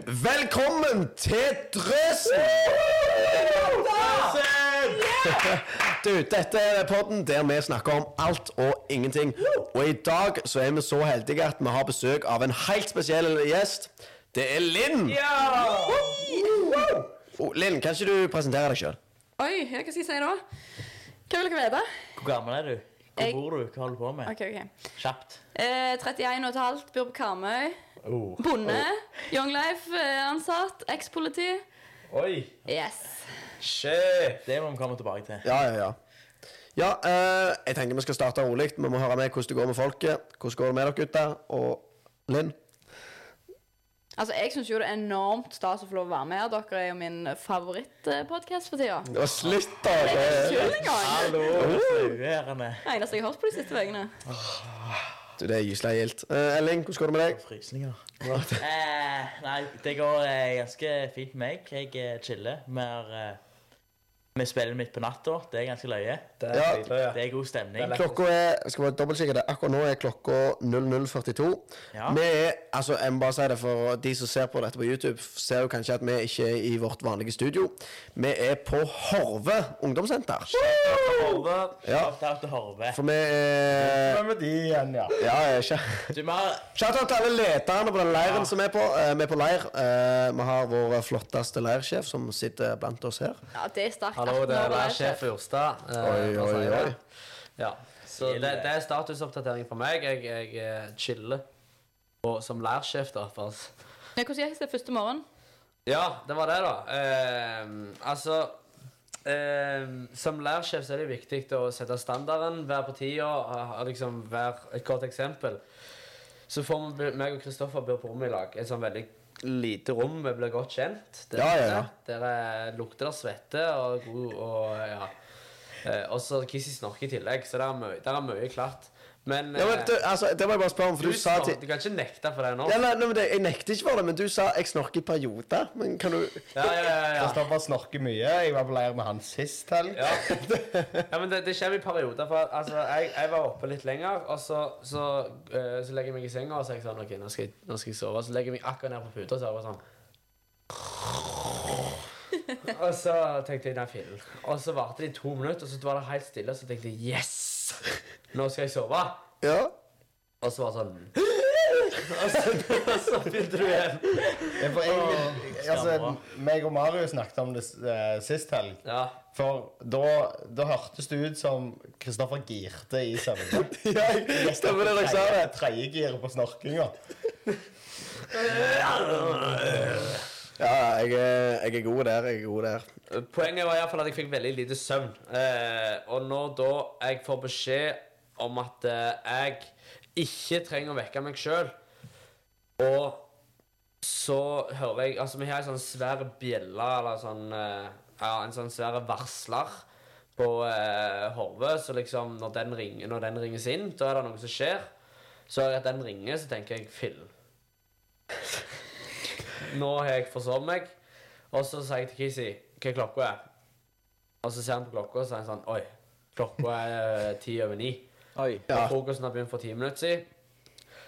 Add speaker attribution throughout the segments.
Speaker 1: Velkommen til Drøsen! Du, dette er podden der vi snakker om alt og ingenting. Og i dag så er vi så heldige at vi har besøk av en helt spesiell gjest. Det er Linn! Oh, Linn, kan ikke du presentere deg sjøl?
Speaker 2: Oi, ja, hva skal jeg si da? Hva vil dere vite?
Speaker 3: Hvor gammel er du? Hvor
Speaker 2: Jeg-
Speaker 3: bor du? Hva holder du på med?
Speaker 2: Ok, ok.
Speaker 3: Kjapt.
Speaker 2: Eh, 31 og et halvt, bor på Karmøy. Bonde. Young Life eh, ansatt. Eks-politi.
Speaker 3: Oi!
Speaker 2: Yes.
Speaker 1: Ja,
Speaker 3: Det må vi komme tilbake til.
Speaker 1: ja, ja. Ja, eh, jeg tenker vi skal starte rolig. Vi må høre med hvordan det går med folket. Hvordan går det med dere gutter? Og Linn?
Speaker 2: Altså, Jeg syns jo det er enormt stas å få lov å være med her. Dere er jo min favorittpodkast for tida.
Speaker 1: Det var slitt, da!
Speaker 2: Kjør en gang!
Speaker 3: Hallo! Flauerende.
Speaker 2: Det eneste jeg har hørt på de siste ukene.
Speaker 1: Du, det er gyselig gildt. Eh, Elling, hvordan går det med deg?
Speaker 3: Frysninger. Eh, nei, det går eh, ganske fint med meg. Jeg eh, chiller. Vi har eh, Vi spiller midt på natta. Det er ganske løye.
Speaker 4: Det
Speaker 1: Ja.
Speaker 4: er dritbra,
Speaker 3: Det
Speaker 4: ja.
Speaker 3: er god stemning.
Speaker 4: Det er
Speaker 1: Klokka er jeg skal bare dobbeltsjekke det. Akkurat nå er klokka 00.42.
Speaker 3: Ja.
Speaker 1: Vi er altså, Jeg må bare si det for de som ser på dette på YouTube, ser jo kanskje at vi ikke er i vårt vanlige studio. Vi er på Horve ungdomssenter.
Speaker 4: Horve.
Speaker 1: Ja,
Speaker 3: Shout out til Horve.
Speaker 1: for vi er
Speaker 4: Hvem er de igjen, ja?
Speaker 1: Ja, jeg er ikke
Speaker 3: Du, vi har
Speaker 1: Shout out til alle lederne på den leiren som er på. Eh, vi er på leir. Eh, vi har vår flotteste leirsjef som sitter blant oss her.
Speaker 2: Ja, Det er sterkt.
Speaker 4: Hallo,
Speaker 2: 18 år
Speaker 4: det
Speaker 2: og
Speaker 4: er lærsjef i Eh, Jørstad.
Speaker 1: Oi, oi, oi.
Speaker 4: Ja. Så det, det er statusoppdatering for meg. Jeg, jeg eh, chiller og, som lærsjef, da. For oss.
Speaker 2: Nei, Hvordan gikk det første morgen?
Speaker 4: Ja, det var det, da. Eh, altså eh, Som lærsjef så er det viktig å sette standarden, være på tida, ha- ha liksom være et godt eksempel. Så får vi, meg og Kristoffer bor på rommet i lag. Et sånn veldig lite rom. Vi blir godt kjent. Der,
Speaker 1: Ja, ja, ja.
Speaker 4: der er- lukter det svette og god og ja. Eh, og så Kissy snorker i tillegg, så der er mye, der er mye klatt. Men,
Speaker 1: Ja, men, du,
Speaker 4: eh,
Speaker 1: altså, det må jeg bare spørre om, for
Speaker 4: du,
Speaker 1: du, sa til
Speaker 4: snorker, du kan ikke nekte for det nå.
Speaker 1: ja, nei, nei, men det, Jeg nekter ikke for det, men du sa 'jeg snorker i perioder'. Men kan du
Speaker 4: Ja, ja, ja, ja.
Speaker 5: Kristoffer snorker mye. Jeg var på leir med han sist helg.
Speaker 4: Ja. ja, men det, det kommer i perioder. For at, altså, jeg, jeg var oppe litt lenger, og så, så, eh, så legger jeg meg i senga og så er jeg sånn, ok, nå skal jeg, nå skal jeg sove. Så legger jeg meg akkurat ned på puta, så er jeg bare sånn Og så tenkte jeg nei, fillen. Og så varte det i to minutter, og så var det helt stille, og så tenkte jeg yes! Nå skal jeg sove.
Speaker 1: Ja.
Speaker 4: Og så var det sånn og så, og så begynte du igjen.
Speaker 5: Ja, For jeg, altså, meg og Mario snakket om det eh, sist helg.
Speaker 4: Ja.
Speaker 5: For da, da hørtes det ut som Kristoffer girte i søvne.
Speaker 1: Ja, jeg- stemmer det dere sa det.
Speaker 5: Tredjegiret på snorkinga.
Speaker 1: Ja, jeg er, jeg er god der. Jeg er god der.
Speaker 4: Poenget var i hvert fall at jeg fikk veldig lite søvn. Eh, og når da jeg får beskjed om at eh, jeg ikke trenger å vekke meg sjøl, og så hører jeg Altså, vi har ei sånn svær bjelle, eller sånn eh, Ja, en sånn svær varsler på eh, Horve, så liksom når den, ringer, når den ringes inn, da er det noe som skjer. Så er det at den ringer, så tenker jeg fillen. Nå har jeg forsovet meg. Og så sier jeg til Kissy hva klokka er. Og så ser han på klokka og så er han sånn Oi, klokka er eh, ti over ni.
Speaker 3: Oi.
Speaker 1: Ja.
Speaker 4: Og Frokosten har begynt for ti minutter siden.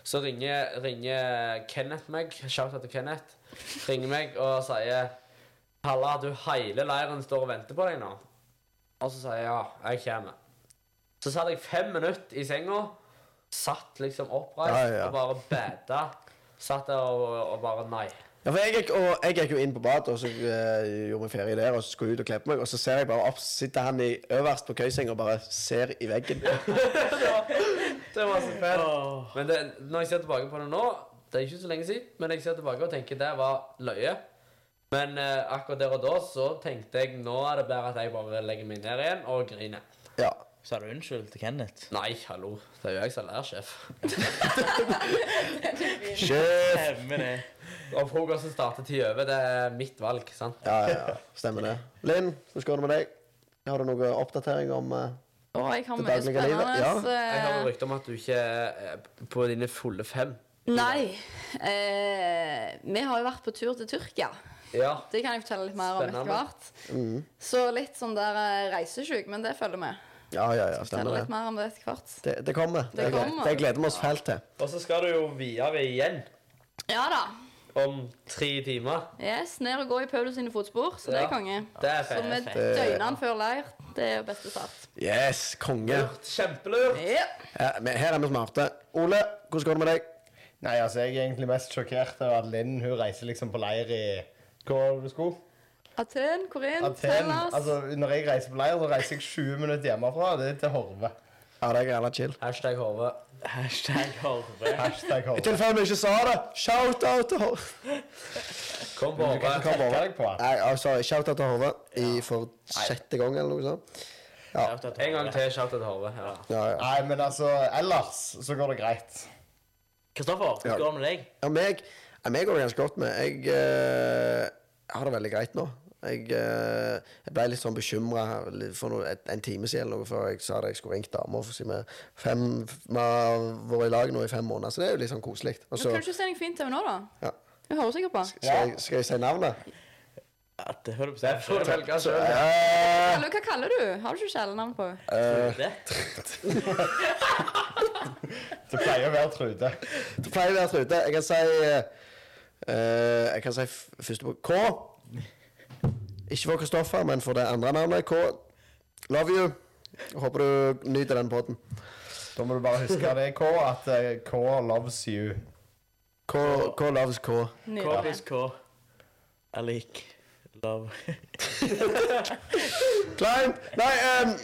Speaker 4: Så ringer, ringer Kenneth meg. Shout-out til Kenneth. Ringer meg og sier Halla, du hele leiren står og venter på deg nå. Og så sier jeg ja, jeg kommer. Så satt jeg fem minutter i senga. Satt liksom oppreist
Speaker 1: Ja, ja, ja.
Speaker 4: og bare bæda. Satt der og, og bare nei.
Speaker 1: Ja, for jeg gikk, og jeg gikk jo inn på badet og så eh, gjorde vi ferie der, og så skulle jeg ut og kle på meg, og så ser jeg bare opp, så sitter han i øverst på køysenga og bare ser i veggen.
Speaker 4: Det var så fett. Men det, når jeg ser tilbake på det nå Det er ikke så lenge siden, men jeg ser tilbake og tenker det var løye. Men eh, akkurat der og da så tenkte jeg nå er det bedre at jeg bare legger meg ned igjen og griner.
Speaker 1: Ja.
Speaker 3: Sa du unnskyld til Kenneth?
Speaker 4: Nei, hallo. Det er jo jeg som er lærsjef.
Speaker 1: Sjef!
Speaker 3: Stemmer det.
Speaker 4: Og frokosten starter ti over. Det er mitt valg, sant?
Speaker 1: Ja, ja, ja. Stemmer det. Linn, hvordan går det med deg? Har du noen oppdatering om eh,
Speaker 2: Å, jeg har
Speaker 1: Det
Speaker 2: mye
Speaker 1: daglige livet,
Speaker 2: spennende.
Speaker 1: ja.
Speaker 2: så-
Speaker 4: Jeg hører rykter om at du ikke er eh, på dine fulle fem.
Speaker 2: Nei. Eh, vi har jo vært på tur til Tyrkia.
Speaker 4: Ja.
Speaker 2: Det kan jeg fortelle litt mer om etter
Speaker 4: Spennende.
Speaker 2: hvert. Så litt sånn der eh, reisesjuk, men det følger med.
Speaker 1: Ja, ja, ja.
Speaker 2: Forteller
Speaker 1: Stemmer
Speaker 2: litt
Speaker 1: det.
Speaker 2: mer om det etter hvert.
Speaker 1: Det, det kommer. Det,
Speaker 2: kommer.
Speaker 1: det gleder vi oss fælt til.
Speaker 4: Og så skal du jo videre igjen.
Speaker 2: Ja da.
Speaker 4: om tre timer.
Speaker 2: Yes, ned og gå i Paulus sine fotspor, så det
Speaker 4: Ja.
Speaker 2: er konge.
Speaker 4: Det er
Speaker 2: Så vi
Speaker 4: fett.
Speaker 2: døgner han før leir. Det er jo beste start.
Speaker 1: Yes, konge.
Speaker 4: Kjempelurt.
Speaker 2: Ja.
Speaker 1: Ja, men her er vi smarte. Ole, hvordan går det med deg?
Speaker 5: Nei, altså, jeg er egentlig mest sjokkert over at Linn hun reiser liksom på leir i Hvor var det du skulle?
Speaker 2: Aten, Korin,
Speaker 5: Aten.
Speaker 2: Hellas.
Speaker 5: Altså, når jeg reiser på leir, så reiser jeg 20 minutter hjemmefra. Det er til Horve.
Speaker 1: Ja, det er jævla chill.
Speaker 4: Hashtag hode.
Speaker 3: Hashtag Horve.
Speaker 5: Hashtag
Speaker 1: I
Speaker 5: Horve.
Speaker 1: tilfelle vi ikke sa det, shout-out til Hove.
Speaker 4: Kom på
Speaker 5: Du kan
Speaker 4: hode.
Speaker 5: ikke komme deg på.
Speaker 1: Nei, altså, shout-out til Hove i for sjette gang, eller noe sånt.
Speaker 4: En gang til shout-out til hode. Ja.
Speaker 1: Ja, ja.
Speaker 5: Nei, men altså, ellers så går det greit.
Speaker 3: Kristoffer,
Speaker 1: Ja.
Speaker 3: hvordan går det med deg?
Speaker 1: ja meg, ja, meg går det ganske godt med. Jeg eh, har det veldig greit nå. Jeg, eh, jeg ble litt sånn bekymra for noe, et, en time siden eller noe før jeg sa det jeg skulle ringt dama. for å si Vi fem- vi har vært i lag nå i fem måneder, så det er jo litt sånn koselig. Og
Speaker 2: Kan
Speaker 1: så
Speaker 2: du ikke se noe fint til henne nå, da?
Speaker 1: Ja.
Speaker 2: Hun hører sikkert på.
Speaker 1: skal jeg, skal jeg si navnet?
Speaker 3: At det hører du
Speaker 4: Det får du velge selv.
Speaker 1: Eh,
Speaker 2: Hallo, hva kaller du? Har du ikke kjælenavn på?
Speaker 3: Det.
Speaker 5: Det pleier å være Trude.
Speaker 1: Det Eh, pleier å være Trude. Jeg kan si eh, eh, Jeg kan si f- første bok K. Ikke for Kristoffer, men for det andre navnet. K. Love you. Håper du nyter den podden.
Speaker 5: Da må du bare huske det, K, at eh, K loves you.
Speaker 1: K, K loves K.
Speaker 3: K
Speaker 2: Nydelig.
Speaker 3: pluss K er lik love.
Speaker 1: Klein! Nei, em,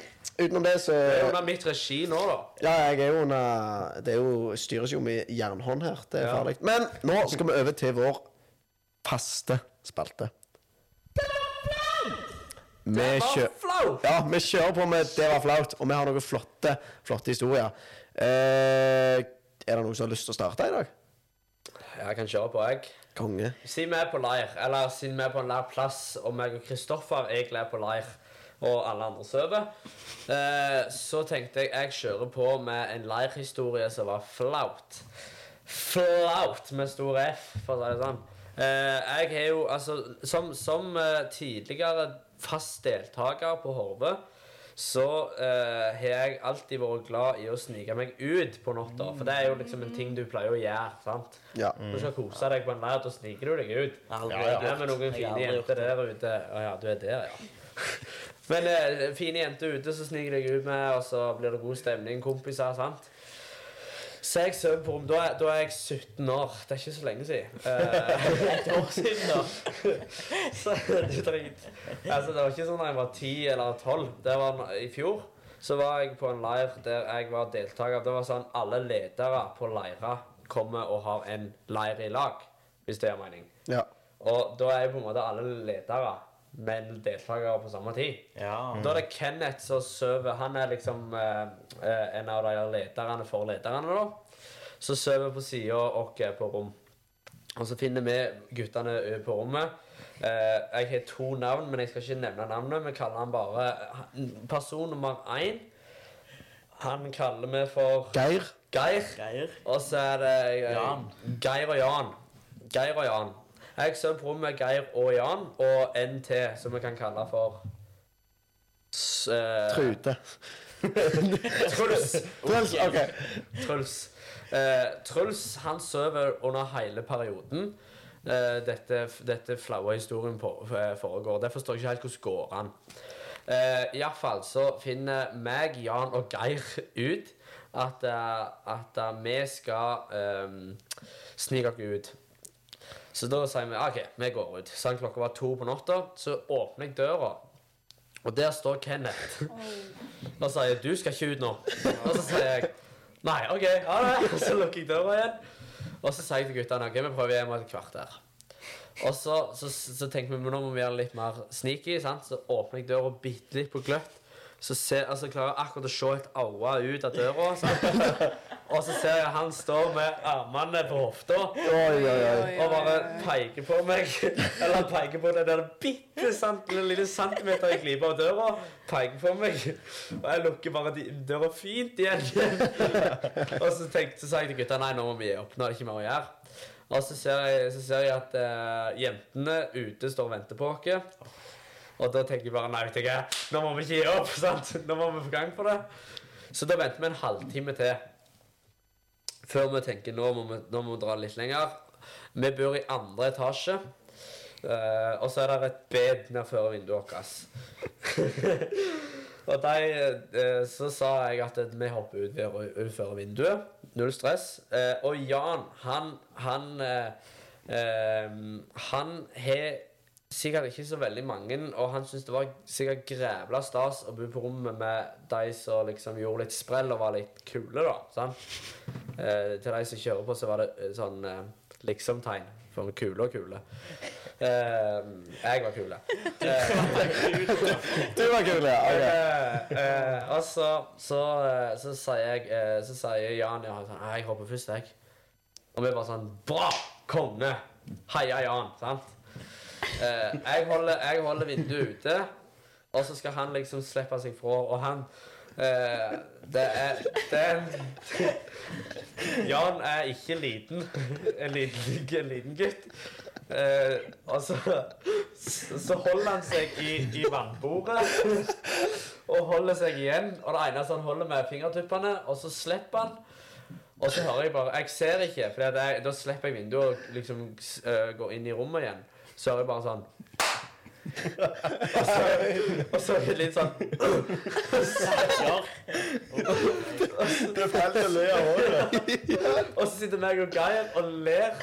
Speaker 1: utenom det så
Speaker 4: Det er under mitt regi nå, da.
Speaker 1: Ja, jeg er jo under Det er jo, styres jo med jernhånd her. Det er
Speaker 4: Ja.
Speaker 1: farlig. Men nå skal vi over til vår faste spalte. Vi kjører
Speaker 4: Flaut!
Speaker 1: Ja, vi kjører på med Det var flaut, og vi har noen flotte, flotte historier. Eh, er det noen som har lyst til å starte i dag?
Speaker 4: Jeg kan kjøre på, jeg.
Speaker 1: Konge.
Speaker 4: Siden vi er på leir, eller siden vi er på en leirplass, og meg og Kristoffer egentlig er på leir, og alle andre sover, eh, så tenkte jeg jeg kjører på med en leirhistorie som var flaut. Flaut med stor F, for å si det sånn. Eh, jeg har jo, altså, som, som eh, tidligere fast deltaker på Horve, så eh, har jeg alltid vært glad i å snike meg ut på natta. For det er jo liksom en ting du pleier å gjøre. sant?
Speaker 1: Ja.
Speaker 4: Du skal kose deg på en leir, da sniker du deg ut.
Speaker 3: Aldri
Speaker 4: Ja, ja.
Speaker 3: gjort.
Speaker 4: Det er med noen
Speaker 3: Jeg har
Speaker 4: fine
Speaker 3: aldri gjort
Speaker 4: jenter der ute. Å ja, du er der, ja. Men eh, fine jenter ute, så sniker jeg ut med, og så blir det god stemning. Kompiser, sant? Så jeg sover på rom. Da, er- da er jeg 17 år. Det er ikke så lenge siden. Eh,
Speaker 3: Et år siden, da.
Speaker 4: så du trenger Altså, det var ikke sånn da jeg var 10 eller 12. Det var n- i fjor. Så var jeg på en leir der jeg var deltaker. Det var sånn alle ledere på leirer kommer og har en leir i lag, hvis det gir mening.
Speaker 1: ja.
Speaker 4: Og da er jo på en måte alle ledere, men deltakere på samme tid.
Speaker 3: Ja.
Speaker 4: Da er det Kenneth som sover. Han er liksom eh, eh, en av de lederne for lederne, da. Så sover på sida og er på rom. Og så finner vi guttene ø på rommet. Eh, jeg har to navn, men jeg skal ikke nevne navnet. Vi kaller han bare han- Person nummer én. Han kaller vi for
Speaker 1: Geir.
Speaker 4: Geir.
Speaker 3: Greier.
Speaker 4: Og så er det eh,
Speaker 3: Jan.
Speaker 4: Geir og Jan. Geir og Jan. Jeg sover på rommet med Geir og Jan og en til, som vi kan kalle for S- eh,
Speaker 1: Trude.
Speaker 4: Truls.
Speaker 1: Truls, OK.
Speaker 4: Truls. Eh, Truls han sover under hele perioden. eh, dette dette flaue historien på, eh, foregår. Det forstår jeg ikke helt hvordan går han. Uh, Iallfall så finner meg, Jan og Geir ut at, eh, at eh, vi skal eh, snike oss ut. Så da sier vi OK, vi går ut. Sånn klokka var to på natta, så åpner jeg døra. Og der står Kenneth. Og sier 'Du skal ikke ut nå'. Og så sier jeg 'Nei, OK, ha det'. Og så lukker jeg døra igjen. Og så sier jeg til guttene 'OK, vi prøver igjen om et kvarter'. Og så, så, så tenker vi men nå må vi være litt mer sneaky, sant? så åpner jeg døra bitte litt på gløtt. Så ser, altså, klarer jeg akkurat å se et aue ut av døra. sant? Og så ser jeg han står med armene på hofta
Speaker 1: Oi, oi, oi.
Speaker 4: og bare peker på meg. Eller han peker på den der bitte sant, den lille centimeter jeg gliper av døra. Peker på meg. Og jeg lukker bare de, døra fint igjen. og så tenkte så sa jeg til gutta nei, nå må vi gi opp. Nå er det ikke mer å gjøre. Og så ser jeg, så ser jeg at eh, jentene ute står og venter på oss. Og da tenker jeg bare nei, vet du hva, nå må vi ikke gi opp. sant? Nå må vi få gang på det. Så da venter vi en halvtime til. Før vi tenker nå må vi, nå må vi dra litt lenger. Vi bor i andre etasje. Eh, og så er det et bed nedfor vinduet vårt. og de, eh, så sa jeg at vi hopper ut ved å utføre vinduet. Null stress. Eh, og Jan, han Han eh, eh, Han har sikkert ikke så veldig mange, og han syntes det var sikkert grævla stas å bo på rommet med de som liksom gjorde litt sprell og var litt kule, da. sant? Eh, til de som kjører på, så var det eh, sånn eh, liksom-tegn. For kule og kule. Eh, jeg var kule.
Speaker 1: Du var kul, ja. ok.
Speaker 4: Eh, eh, og så, så, eh, så sier jeg eh, Så sier Jan ja, sånn, «Nei, Jeg hopper først, jeg. Og vi bare sånn Bra! Konge! Heia Jan! Sant? Eh, jeg, holder, jeg holder vinduet ute, og så skal han liksom slippe seg fra, og han eh, Det er det er en- Jan er ikke liten. En liten, en liten gutt. Eh, og så, så holder han seg i, i vannbordet og holder seg igjen. Og det eneste han holder med er fingertuppene, og så slipper han. Og så hører jeg bare Jeg ser ikke, for det er, da slipper jeg vinduet og liksom eh, går inn i rommet igjen. Så hører jeg bare sånn og så, og så er det litt sånn
Speaker 5: Det falt å le av håret.
Speaker 4: Og så sitter meg og Geir og ler.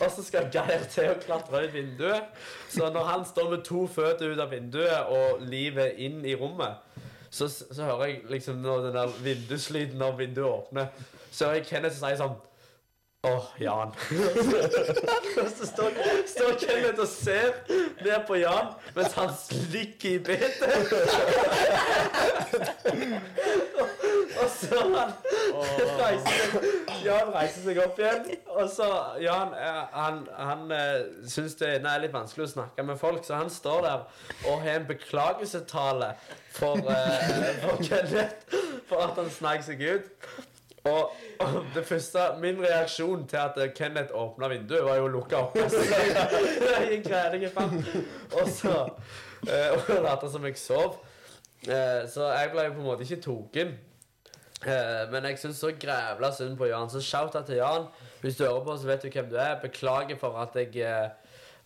Speaker 4: Og så skal Geir til å klatre ut vinduet. Så når han står med to føtter ut av vinduet og livet inn i rommet, så, så hører jeg liksom når den der vinduslyden når vinduet åpner, så hører jeg Kenneth som sier sånn Åh, Jan. og så står, står Kenneth og ser ned på Jan mens han ligger i bedet. og så han reiser seg, Jan reiser seg opp igjen. Og så Jan eh, han, han eh, syns det nei, er litt vanskelig å snakke med folk, så han står der og har en beklagelsetale for, eh, for Kenneth for at han snak seg ut. Og, og det første, min reaksjon til at eh, Kenneth åpna vinduet, var jo å lukke opp. Så jeg- jeg gikk greining i fant. Og så eh, Og lata som jeg sov. Eh, Så jeg ble jo på en måte ikke token. Eh, Men jeg syns så grævla synd på Jan. Så shout out til Jan. Hvis du hører på, så vet du hvem du er. Beklager for at jeg eh,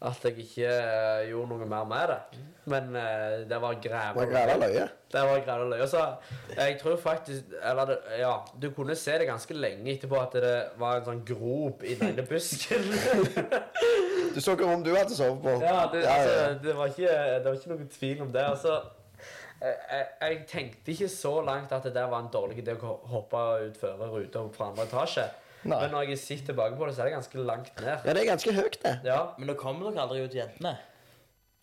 Speaker 4: At jeg ikke eh, gjorde noe mer med det. Men eh, det var
Speaker 1: Det var
Speaker 4: grævla
Speaker 1: græla løye.
Speaker 4: det var greit å løye. Så jeg tror faktisk Eller det, ja, du kunne se det ganske lenge etterpå at det var en sånn grop i den ene busken.
Speaker 1: Du så ikke om du hadde sovet på.
Speaker 4: ja, det,
Speaker 1: Ja, ja, ja.
Speaker 4: Altså, det, var ikke, det var ikke noen tvil om det. Altså, jeg, jeg, jeg tenkte ikke så langt at det der var en dårlig idé å ho- hoppe utfor ruta fra andre etasje.
Speaker 5: Nei.
Speaker 4: Men når jeg sitter tilbake på det, så er det ganske langt ned.
Speaker 1: Ja, det er ganske høyt, det.
Speaker 4: Ja,
Speaker 3: Men da kommer dere aldri ut, jentene.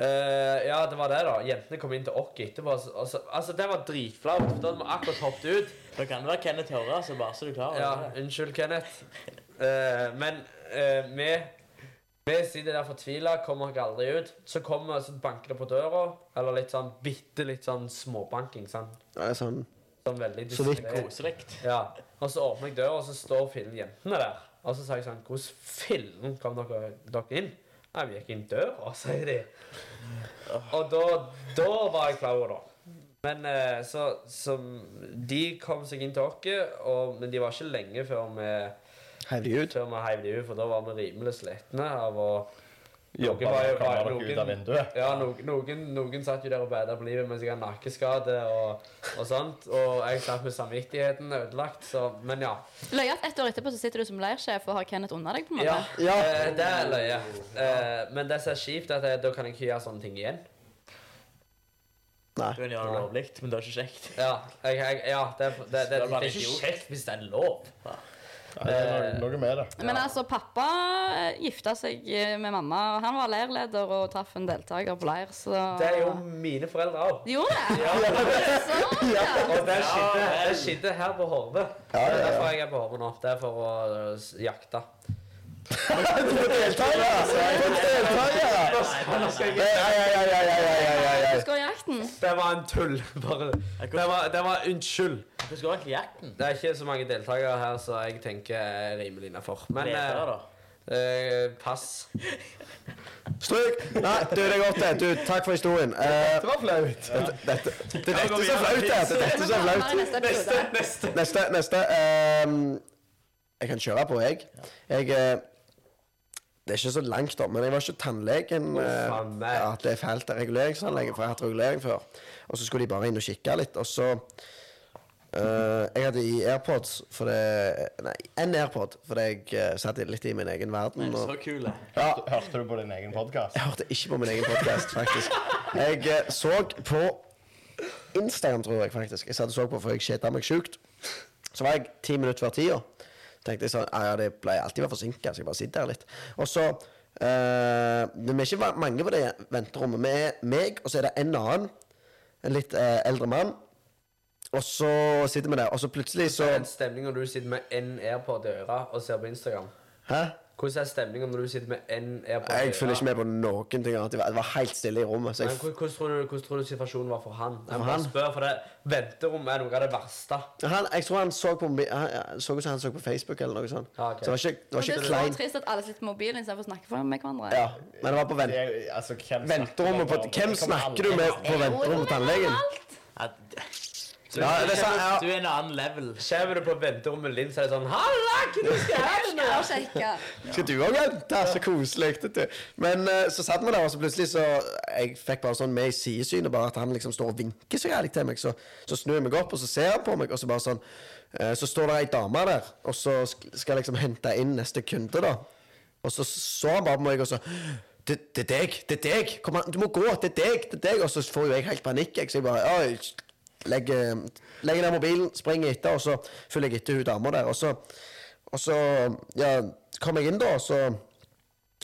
Speaker 4: Eh, ja det var det, da. Jentene kom inn til oss etterpå. og så- og så- altså, det var dritflaut. for Da hadde vi akkurat hoppet ut.
Speaker 3: Da kan det være Kenneth hører, så bare så du klarer
Speaker 4: Ja,
Speaker 3: over det.
Speaker 4: unnskyld, Kenneth. Eh, men eh, vi, vi sitter der fortvila, kommer ikke aldri ut. Så kommer så banker det på døra, eller litt sånn bitte litt sånn småbanking. sant?
Speaker 1: Ja, det er sånn.
Speaker 4: Sånn veldig
Speaker 1: Så vidt.
Speaker 4: diskré.
Speaker 3: Koselig.
Speaker 4: Ja. Og så åpner jeg døra, og så står fillen jentene der. Og så sier jeg sånn Hvordan fillen kom dere, dere inn? Nei, vi gikk inn døra, sier de. Og da, da var jeg flau, da. Men eh, så, så De kom seg inn til oss, og- men de var ikke lenge før vi
Speaker 1: Heiv de ut.
Speaker 4: før vi heiv de ut, for da var vi rimelig slitne av å
Speaker 5: Jobba
Speaker 4: var
Speaker 5: med
Speaker 4: jo
Speaker 5: å komme
Speaker 4: bare
Speaker 5: dere ut av
Speaker 4: noen-
Speaker 5: vinduet.
Speaker 4: Ja, no, noen, noen satt jo der og bæda på livet mens jeg hadde nakkeskade og, og sånt. Og jeg satt med samvittigheten ødelagt, så Men ja.
Speaker 2: Løye at ett år etterpå så sitter du som leirsjef og har Kenneth unna deg. på en måte
Speaker 4: ja,
Speaker 1: Ja.
Speaker 4: eh, det er løye. Eh, men det som er kjipt, er at jeg, da kan jeg ikke gjøre sånne ting igjen.
Speaker 1: Nei.
Speaker 3: Du kan gjøre det lovlig, men det er ikke kjekt.
Speaker 4: Ja, jeg, jeg, ja det, er- det, det, det,
Speaker 3: Da var
Speaker 4: er
Speaker 3: det
Speaker 4: ikke
Speaker 3: idiot.
Speaker 4: kjekt hvis det er lov.
Speaker 5: Ja, det er noe- noe med det.
Speaker 2: Men altså, pappa eh, gifta seg eh, med mamma, og han var leirleder og traff en deltaker på leir, så
Speaker 4: Det er jo mine foreldre òg.
Speaker 2: De Gjorde det? Sånn, ja.
Speaker 4: Og det skjedde,
Speaker 3: vel.
Speaker 4: det skjedde her på Hove.
Speaker 1: ja,
Speaker 4: Det er
Speaker 1: ja.
Speaker 4: derfor jeg er på Hove nå. Det er for å eh, s- jakte.
Speaker 1: Du får deltaker! Du får deltaker!
Speaker 4: altså.
Speaker 1: Nei, altså, nei, nei, nei, nei, nei, nei, nei.
Speaker 2: Du skal i jakten?
Speaker 4: Det var en tull. Bare. Det, var, det var Unnskyld.
Speaker 3: Hvordan går egentlig jakten?
Speaker 4: Det er ikke så mange deltakere her, så jeg tenker jeg er rimelig innafor. Men
Speaker 3: Ledere,
Speaker 4: eh,
Speaker 3: da.
Speaker 4: eh, pass.
Speaker 1: Stryk! Nei, du, det er godt, det. Du, takk for historien. Eh,
Speaker 5: Det var flaut.
Speaker 1: dette, det er dette som er flaut, det. Det er dette som er
Speaker 2: Mamma
Speaker 1: flaut.
Speaker 2: i neste episode.
Speaker 1: Neste. neste ehm, jeg kan kjøre på, jeg. Jeg eh, Det er ikke så langt, da, men jeg var ikke tannlegen. eh,
Speaker 4: faen meg.
Speaker 1: ja, det er fælt det er reguleringsanlegget, for jeg har hatt regulering før. Og så skulle de bare inn og kikke litt, og så eh, Jeg hadde i AirPods, for det Nei, én AirPod, fordi jeg eh, satt litt i min egen verden. og-
Speaker 3: Så eh. kule.
Speaker 1: ja,
Speaker 5: Hørte du på din egen podkast?
Speaker 1: jeg hørte ikke på min egen podkast, faktisk. Jeg eh, så på Instagram, tror jeg faktisk. Jeg satt og så på, for jeg kjeda meg sjukt. Så var jeg ti minutter før tida. Tenkte jeg sånn «Ah, Ja, det pleier alltid å være forsinka, så jeg bare sitter her litt. Og så eh, Men vi er ikke va- mange på det venterommet. Vi er meg, og så er det en annen. En litt eh, eldre mann. Og så sitter vi der, og så plutselig så
Speaker 4: Det er en stemning når du sitter med en AirPod i øret og ser på Instagram.
Speaker 1: Hæ?
Speaker 4: Hvordan er stemningen når du sitter med en AirPod i
Speaker 1: Jeg følger
Speaker 4: øret?
Speaker 1: ikke med på noen ting. annet. Det var- det var helt stille i rommet. Så
Speaker 4: Men
Speaker 1: jeg
Speaker 4: hvor- hvordan, tror du, hvordan tror du situasjonen var for han? Jeg må
Speaker 1: For
Speaker 4: bare
Speaker 1: han?
Speaker 4: spørre, for det venterommet er noe av det verste.
Speaker 1: Han, jeg tror han så på mobi- han, han- så ut som han så på Facebook eller noe sånt.
Speaker 5: Ah,
Speaker 4: Ja,
Speaker 1: Så
Speaker 4: ok.
Speaker 1: det var ikke, det var
Speaker 2: Og det
Speaker 1: ikke
Speaker 2: er så
Speaker 1: kleint.
Speaker 2: trist at alle sitter på mobilen istedenfor å snakke for- med hverandre.
Speaker 1: Ja, men det var på vent,
Speaker 5: Det er jo- altså, hvem
Speaker 1: venterommet på Hvem snakker du med på venterommet på tannlegen?
Speaker 3: Ja, d-
Speaker 1: Ja, det sa ja.
Speaker 3: Du er en annen level.
Speaker 4: Kommer du på venterommet din, så er det sånn Halla, hva skal jeg her nå?
Speaker 2: Jeg sjekke.
Speaker 1: Skal du òg vente? Så koselig. vet du. Men eh, så satt vi der, og så plutselig så Jeg fikk bare sånn med i sidesynet bare at han liksom står og vinker så jævlig til meg. Så, så snur jeg meg opp, og så ser han på meg, og så bare sånn eh, Så står det ei dame der, og så sk- skal jeg liksom hente inn neste kunde, da. Og så så han bare på meg og så det, det er deg! Det er deg! Kom an, du må gå! Det er deg! Det er deg! Og så får jo jeg helt panikk, jeg, så jeg bare «Oi, Legger, legger ned mobilen, springer etter, og så følger jeg etter hun dama der. Og så og så ja, kom jeg inn, da, og så,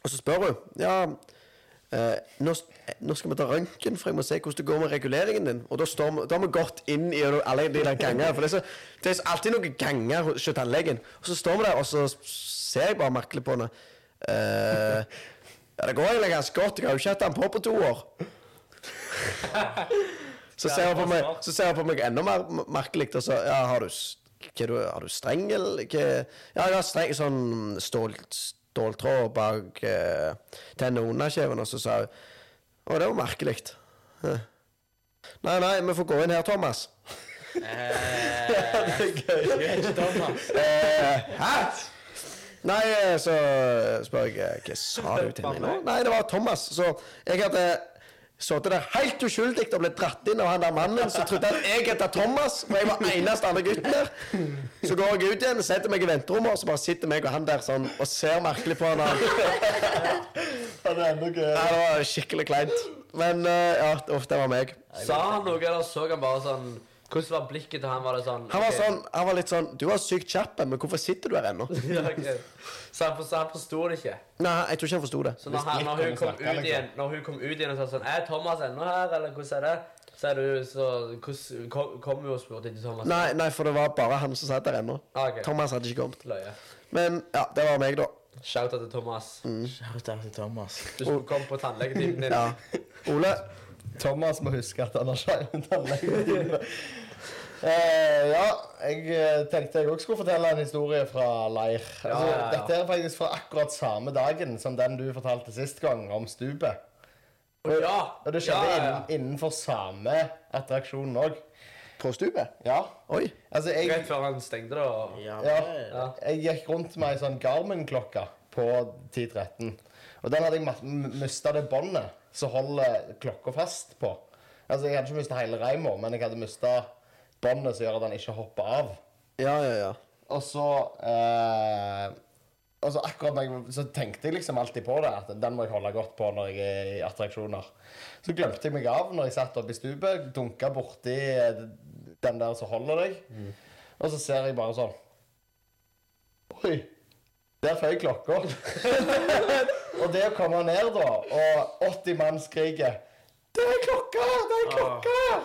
Speaker 1: og så spør hun Ja, eh, nå, s- nå skal vi ta røntgen, for jeg må se hvordan det går med reguleringen din. Og da, står vi, da har vi gått inn i alle de der gangene. For det er, så, det er så alltid noen ganger hos hos tannlegen. Og så står vi der, og så s- ser jeg bare merkelig på henne. Eh, ja, det går egentlig ganske godt. Jeg har jo ikke hatt den på på to år. Så ser hun på meg, så ser hun på meg enda mer m- merkelig, og så ja, har du, s- hva du, har du streng, eller hva Ja, jeg har streng, sånn stål, ståltråd bak eh, tennene under kjeven, og så sa hun Å, det var merkelig. Hæ. Nei, nei, vi får gå inn her, Thomas. Det er gøy. Eh, Hæ? Nei, eh, så spør jeg eh, Hva sa du til meg nå? Nei, det var Thomas. Så jeg hadde sittet der helt uskyldig og ble dratt inn av han der mannen som trodde at jeg het Thomas, og jeg var eneste andre gutten der. Så går jeg ut igjen, setter meg i venterommet, og så bare sitter meg og han der sånn og ser merkelig på han. der.
Speaker 5: Ja, det er enda
Speaker 1: Ja,
Speaker 5: gøy.
Speaker 1: det var skikkelig kleint. Men eh, ja, uff, det var meg.
Speaker 4: Sa han noe, eller så han bare sånn Hvordan var blikket til han? Var det sånn
Speaker 1: Han var
Speaker 4: «Ok,
Speaker 1: sånn, han var litt sånn Du var sykt kjapp, men hvorfor sitter du her ennå?
Speaker 4: ja, ok. Så han, for, så han forsto det ikke.
Speaker 1: Nei, jeg tror ikke han forsto det.
Speaker 4: Så når, han, når, hun
Speaker 5: Hvis
Speaker 4: kom
Speaker 5: blikket
Speaker 4: ut
Speaker 5: liksom.
Speaker 4: igjen, når hun kom ut igjen og sa sånn Er Thomas ennå her, eller hvordan er det? Så er du så hvordan- Kom kom hun og spurte etter Thomas?
Speaker 1: Nei, nei, for det var bare han som satt der ennå.
Speaker 4: Ah, ok.
Speaker 1: Thomas hadde ikke kommet.
Speaker 4: Løye.
Speaker 1: Men ja, det var meg, da.
Speaker 4: Shout out til Thomas.
Speaker 3: Shout out til Thomas.
Speaker 4: Du skulle komme på tannlegetimen din.
Speaker 1: Ja. Ole?
Speaker 5: Thomas må huske at han har skeive tannlegetime. Eh, ja, jeg eh, tenkte jeg også skulle fortelle en historie fra leir. Altså,
Speaker 4: Ja, ja, ja.
Speaker 5: Dette er faktisk fra akkurat samme dagen som den du fortalte sist gang, om stupet.
Speaker 4: Og ja!
Speaker 5: Og det
Speaker 4: ja, ja,
Speaker 5: skjedde
Speaker 4: ja.
Speaker 5: Innen, innenfor samme attraksjon òg.
Speaker 1: På stupet?
Speaker 5: Ja.
Speaker 1: Oi.
Speaker 5: Altså, jeg,
Speaker 4: Rett før han stengte det. og...
Speaker 3: Ja,
Speaker 5: Ja.
Speaker 3: vel.
Speaker 5: jeg gikk rundt med ei sånn Garmin-klokke på 10.13. Og den hadde jeg mista det båndet som holder klokka fast på. Altså, jeg hadde ikke mista hele reima, men jeg hadde mista båndet som gjør at den ikke hopper av.
Speaker 1: Ja, ja, ja.
Speaker 5: Og så eh, Og så akkurat når jeg, så tenkte jeg liksom alltid på det, at den må jeg holde godt på når jeg er i attraksjoner. Så glemte jeg meg av når jeg satt oppe i stupet, dunka borti eh, den der som holder deg. Og så ser jeg bare sånn Oi! Der føyk klokka. og det å komme ned, da, og 80 mann skriker Det er klokka! Det er klokka!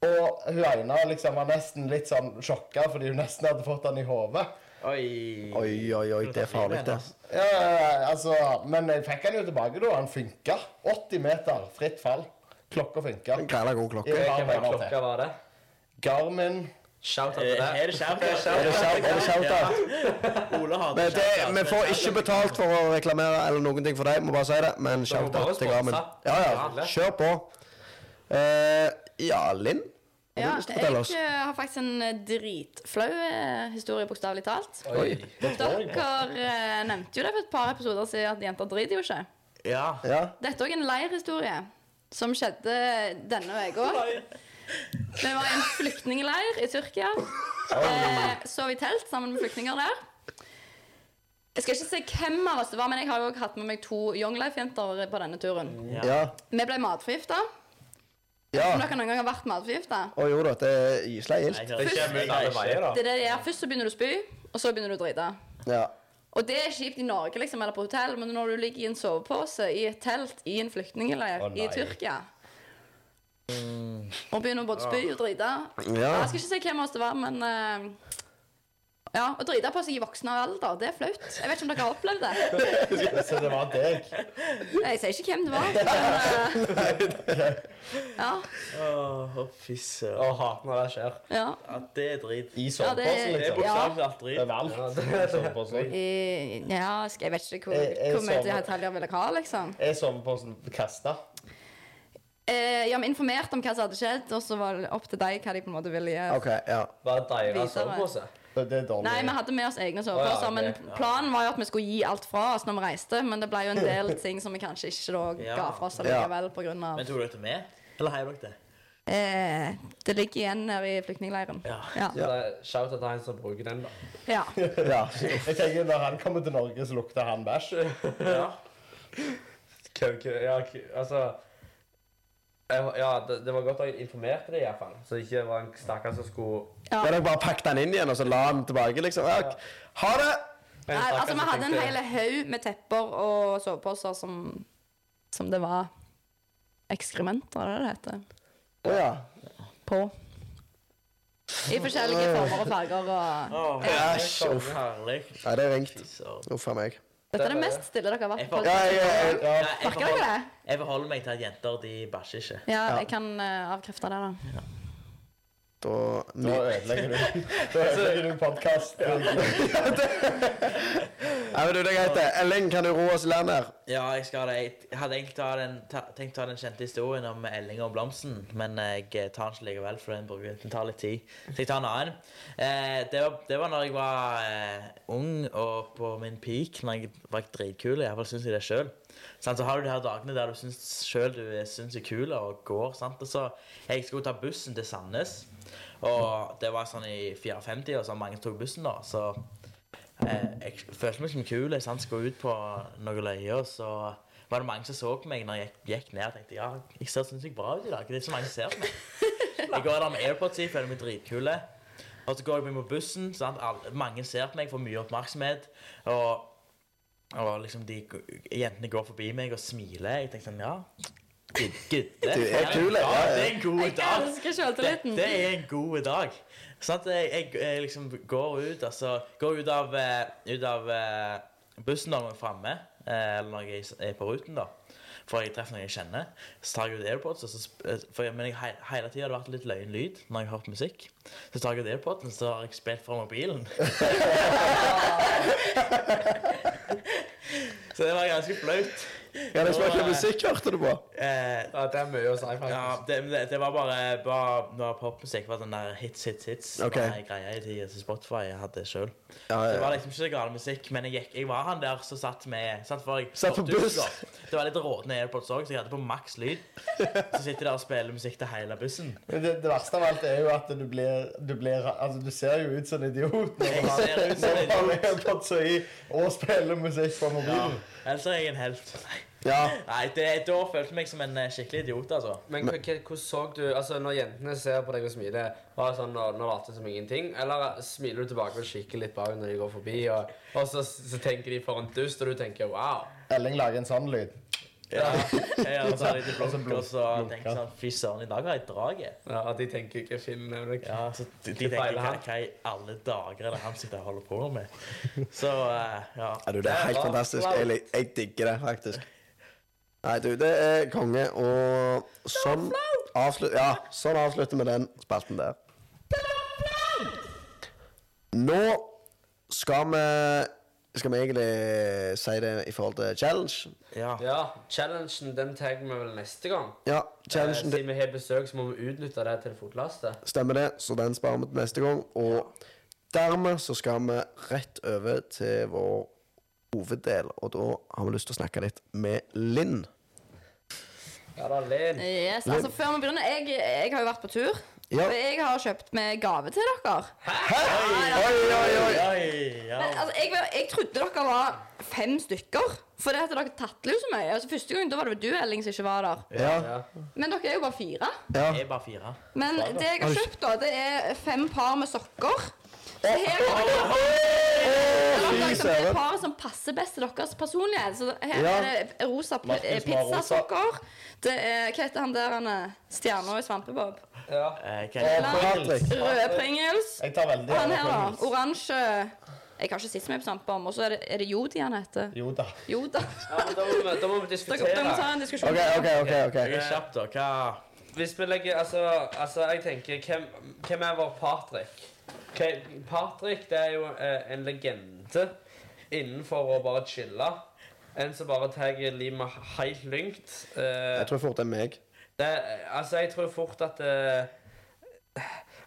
Speaker 5: Og hun ene liksom var nesten litt sånn sjokka fordi hun nesten hadde fått den i hodet.
Speaker 3: Oi.
Speaker 1: Oi, oi, oi, det er farlig, det.
Speaker 5: Ja, altså, men jeg fikk den jo tilbake, da. Han funka. 80 meter, fritt fall. Klokka funka.
Speaker 1: Græla god klokke.
Speaker 5: Ja.
Speaker 4: Hvilken klokke var det?
Speaker 5: Garmin
Speaker 4: Shout out til
Speaker 3: Eh, Er
Speaker 4: det.
Speaker 3: det shout out?
Speaker 1: Er det shout- er det shout-out?
Speaker 3: Ole har
Speaker 1: Men det,
Speaker 3: shout-out.
Speaker 1: vi får ikke betalt for å reklamere eller noen ting for deg, må bare si det. Men shout-out
Speaker 4: bare
Speaker 1: til Garmin.
Speaker 4: sponsa.
Speaker 1: Ja, ja. Kjør på. Eh, ja, Linn?
Speaker 2: Ja,
Speaker 1: lyst til å
Speaker 2: jeg
Speaker 1: fortelle oss?
Speaker 2: eh, har faktisk en eh, dritflau eh, historie, bokstavelig talt.
Speaker 1: Oi.
Speaker 2: Dere eh, nevnte jo det for et par episoder siden at jenter driter jo ikke.
Speaker 3: Ja.
Speaker 1: Ja.
Speaker 2: Dette er òg en leirhistorie som skjedde denne uka. Vi var i en flyktningleir i Tyrkia. Eh, sov i telt sammen med flyktninger der. Jeg skal ikke se hvem av oss det var, men jeg har jo også hatt med meg to Young Life-jenter på denne turen.
Speaker 1: Ja.
Speaker 2: Vi ble matforgifta.
Speaker 1: ja.
Speaker 2: Om dere noen gang har vært matforgifta?
Speaker 1: Å jo da, det er gyselig
Speaker 3: Jeg
Speaker 1: gildt.
Speaker 3: klarer
Speaker 4: Det
Speaker 3: ikke.
Speaker 4: kommer
Speaker 3: Jeg
Speaker 4: ut alle
Speaker 3: klarer
Speaker 4: veier,
Speaker 3: ikke.
Speaker 4: da.
Speaker 2: Det er det det er. Først så begynner du å spy, og så begynner du å drite.
Speaker 1: Ja.
Speaker 2: Og det er kjipt i Norge liksom, eller på hotell, men når du ligger i en sovepose i et telt i en flyktningleir
Speaker 5: Å, nei. Mm.
Speaker 2: i Tyrkia Og begynner å både spy og drite
Speaker 1: Ja.
Speaker 2: Jeg skal ikke si hvem av oss det var, men eh, Ja, å drite på seg i voksen alder, det er flaut. Jeg vet ikke om dere har opplevd det.
Speaker 5: Så det var deg.
Speaker 2: Jeg sier ikke hvem det var. Men, eh, ja,
Speaker 3: Åh, å, fy søren.
Speaker 4: Å, hater når det skjer.
Speaker 2: ja.
Speaker 3: Ja, det er drit.
Speaker 5: I
Speaker 2: Ja,
Speaker 3: Det
Speaker 2: det-
Speaker 5: soveposen,
Speaker 3: er
Speaker 5: liksom.
Speaker 2: Ja.
Speaker 3: bokstavelig talt drit.
Speaker 5: Overalt. Soveposen.
Speaker 2: Eh, ja skal- Jeg vet ikke hvor,
Speaker 5: Jeg- jeg
Speaker 2: hvor mye
Speaker 5: sover.
Speaker 2: detaljer vil dere ha, liksom.
Speaker 5: Er soveposen kasta?
Speaker 2: Eh, ja, men informert om hva som hadde skjedd, og så var det opp til deg hva de på en måte ville gjøre.
Speaker 1: OK. Ja.
Speaker 4: Bare deres
Speaker 2: Videre.
Speaker 4: sovepose.
Speaker 5: Det det er dårlig.
Speaker 2: Nei, vi hadde med oss egne soveposer,
Speaker 4: Å, ja, det-
Speaker 2: men planen var jo at vi skulle gi alt fra oss når vi reiste, men det ble jo en del ting som vi kanskje ikke da
Speaker 3: Ja.
Speaker 2: ga fra oss
Speaker 1: Ja.
Speaker 2: likevel på grunn av
Speaker 3: Men tok dere det med? Eller heiv dere det?
Speaker 2: eh, Det ligger igjen nede i flyktningleiren.
Speaker 3: Ja.
Speaker 2: Ja.
Speaker 4: Så det er Shout til han som bruker den, da.
Speaker 2: ja.
Speaker 1: ja.
Speaker 5: Jeg tenker Når han kommer til Norge, så lukter han bæsj.
Speaker 4: Kø, kø, ja, kø, altså jeg, Ja, det, det var godt at jeg informerte deg, iallfall. Så det ikke var en stakkar som skulle
Speaker 1: Da har dere bare pakket den inn igjen og så la den tilbake, liksom. Ja. Ha det!
Speaker 4: en
Speaker 2: Nei,
Speaker 4: stakkar
Speaker 2: altså,
Speaker 4: som
Speaker 2: vi hadde en
Speaker 4: tenkte-
Speaker 2: hel haug med tepper og soveposer som, som det var ekskrementer, er det det heter,
Speaker 1: Å ja.
Speaker 2: på. I forskjellige former og farger og
Speaker 3: Åh,
Speaker 1: Æsj,
Speaker 3: konge,
Speaker 1: uff.
Speaker 3: herlig.
Speaker 1: Nei, det er ringt.
Speaker 3: Fy søren.
Speaker 1: Uff a meg.
Speaker 2: Dette er det mest stille dere har vært på.
Speaker 1: Ja, jeg,
Speaker 2: eh,
Speaker 1: jeg, ja.
Speaker 3: Nei, jeg
Speaker 2: Merker dere
Speaker 3: forholder-
Speaker 2: det?
Speaker 3: Jeg forholder meg til at jenter de bæsjer ikke.
Speaker 2: Ja, jeg kan eh, avkrefte det, da.
Speaker 1: Da
Speaker 5: Nå ødelegger du, da ødelegger du podkasten.
Speaker 1: Ja, men du, det er greit, det. Elling, kan du ro oss i land her?
Speaker 3: Ja, jeg skal det. Jeg hadde egentlig ta den, ta, tenkt å ha den kjente historien om Elling og Blomsten, men jeg eh, tar den ikke likevel, for den, bruker, den tar litt tid. Så jeg tar en annen. Eh, det, var, det var når jeg var eh, ung og på min peak, når jeg var dritkul. Iallfall syns jeg det sjøl. Så har du de her dagene der du syns sjøl du er- syns du er kul og går. Sant? Og så Jeg skulle ta bussen til Sandnes, og det var sånn i 54-tida, så mange tok bussen da. så... Eh, jeg følte meg som kul. Jeg sant, skulle ut på noen løyer, og så var det mange som så på meg når jeg gikk, gikk ned. Jeg tenkte ja, jeg ser sinnssykt bra ut i dag. Det er så mange som ser på meg. Jeg går der med AirPods i, føler meg dritkule. Og så går jeg inn på bussen. Sant? Alle, mange ser på meg, får mye oppmerksomhet. Og, og liksom de jentene går forbi meg og smiler. Jeg tenker sånn, ja Gud, gud,
Speaker 1: Du
Speaker 3: det
Speaker 1: er
Speaker 3: en
Speaker 1: kul,
Speaker 3: dag,
Speaker 1: ja, ja.
Speaker 3: Det er en god
Speaker 2: Jeg
Speaker 3: dag.
Speaker 2: elsker sjøltilliten.
Speaker 3: Det er en god dag. Sånn at jeg, jeg, jeg liksom går ut, altså, går ut av, eh, ut av eh, bussen når jeg er framme, eh, eller når jeg er på ruten, da. For jeg treffer noen jeg kjenner. Så tar jeg ut AirPods. Og så, sp- eh, for jeg, men jeg, he- hele tida har det vært litt løyen lyd når jeg har hørt musikk. Så tar jeg ut AirPodsen, så har jeg spilt fra mobilen. så det var ganske flaut.
Speaker 1: Ja, det smaker musikk, hørte du på?
Speaker 3: Eh,
Speaker 4: Ja, det er mye å si, faktisk.
Speaker 3: ja, det, men det, det var bare, bare når popmusikk var den der hits, hits, hits.
Speaker 1: Ok.
Speaker 3: Okay. Var greia i tida til Spotify jeg hadde sjøl.
Speaker 1: Ja, ja.
Speaker 3: Det var liksom ikke så gal musikk, men jeg, gikk, jeg var han der som satt med sant, for jeg,
Speaker 1: Satt på
Speaker 3: du-
Speaker 1: buss.
Speaker 3: Det var litt råtne AirPods òg, så jeg hadde på maks lyd. Så sitter jeg der og spiller musikk til hele bussen.
Speaker 5: Men Det, det verste av alt er jo at du blir, du blir Altså, du ser jo ut som en idiot når
Speaker 3: Jeg
Speaker 5: du har-
Speaker 3: ser ut som en
Speaker 5: når du har AirPods i og spiller musikk på
Speaker 3: Ja.
Speaker 5: mobilen.
Speaker 3: Ellers er jeg en helt.
Speaker 1: ja.
Speaker 3: Nei, det, da følte jeg meg som en eh, skikkelig idiot, altså.
Speaker 4: Men hva- hva- hvordan så du Altså, når jentene ser på deg og smiler, var det sånn nå, nå later jeg som ingenting? Eller smiler du tilbake og kikker litt bak når de går forbi, og, og så, så tenker de for en dust, og du tenker wow?
Speaker 5: Elling lager en sånn lyd.
Speaker 3: Ja. Jeg har tatt litt
Speaker 5: Og så
Speaker 3: blunk, og så
Speaker 5: blunk-
Speaker 3: tenkte jeg sånn Fy søren, i dag har jeg draget.
Speaker 4: Ja, at de tenker ikke Finn er deg.
Speaker 3: Ja, så de, de
Speaker 4: Hva
Speaker 3: tenker
Speaker 4: feiler
Speaker 3: hva,
Speaker 4: han?
Speaker 3: hva i alle dager er det han sitter og holder på med? Så eh, ja.
Speaker 1: ja, du, det er helt fantastisk. Jeg, lik- jeg digger det, faktisk. Nei, du, det er konge, og sånn avslutter Ja, sånn avslutter vi den spalten der. Nå skal vi Skal vi egentlig si det i forhold til challenge?
Speaker 3: Ja.
Speaker 4: Ja, challengen den tar vi vel neste gang.
Speaker 1: Ja,
Speaker 4: Eh,
Speaker 1: challengen det
Speaker 4: siden vi har besøk, så må vi utnytte det til det fotlastet.
Speaker 1: stemmer det, så den sparer vi til neste gang. Og dermed så skal vi rett over til vår hoveddel, og da har vi lyst til å snakke litt med Linn.
Speaker 4: Ja da, Len.
Speaker 2: Yes, altså før vi begynner jeg, jeg har jo vært på tur.
Speaker 1: Ja.
Speaker 2: Og jeg har kjøpt med gave til dere.
Speaker 1: Oi, oi, oi!
Speaker 3: Oi, ja.
Speaker 2: Men altså, jeg, jeg trodde dere var fem stykker. For det at dere tatler jo så mye. Altså, første gang da var det jo du Elling som ikke var der.
Speaker 1: Ja,
Speaker 4: Ja.
Speaker 2: Men dere er jo bare fire.
Speaker 1: ja.
Speaker 3: Jeg er bare fire.
Speaker 2: Men det jeg har kjøpt, da, det er fem par med sokker. Så her er det
Speaker 1: Å,
Speaker 2: dere
Speaker 1: fy
Speaker 2: som er
Speaker 1: søren.
Speaker 2: paret som passer best til deres personlighet. Så her
Speaker 1: Ja.
Speaker 2: er det rosa p-
Speaker 5: Markus som har rosa.
Speaker 2: pizzasokker. Det er Hva heter han der han er stjerna i Svampebob?
Speaker 5: Ja.
Speaker 3: Eh, hva
Speaker 5: Og
Speaker 3: er det?
Speaker 1: Patrick.
Speaker 5: Pringles.
Speaker 2: Røde Pringles.
Speaker 5: Jeg tar veldig
Speaker 2: Han her,
Speaker 5: gjerne
Speaker 2: da.
Speaker 5: Pringles.
Speaker 2: Oransje Jeg har ikke sett så mye på Svampebob. Og så er det, er det Jodi han heter.
Speaker 5: Jo da.
Speaker 2: Joda.
Speaker 4: Ja, men da, må vi, da må vi
Speaker 2: Dere, dere må ta
Speaker 4: diskutere. Eh,
Speaker 2: en diskusjon.
Speaker 1: OK, OK. ok,
Speaker 3: Jeg er
Speaker 1: ok
Speaker 3: kjapp, da. Hva
Speaker 4: Hvis vi legger Altså, altså jeg tenker Hvem, hvem er vår Patrick? Ok, Patrick det er jo eh, en legende innenfor å bare chille. En som bare tar livet helt lyngt. Eh,
Speaker 1: Jeg tror fort det er meg.
Speaker 4: det, altså, jeg tror fort at eh,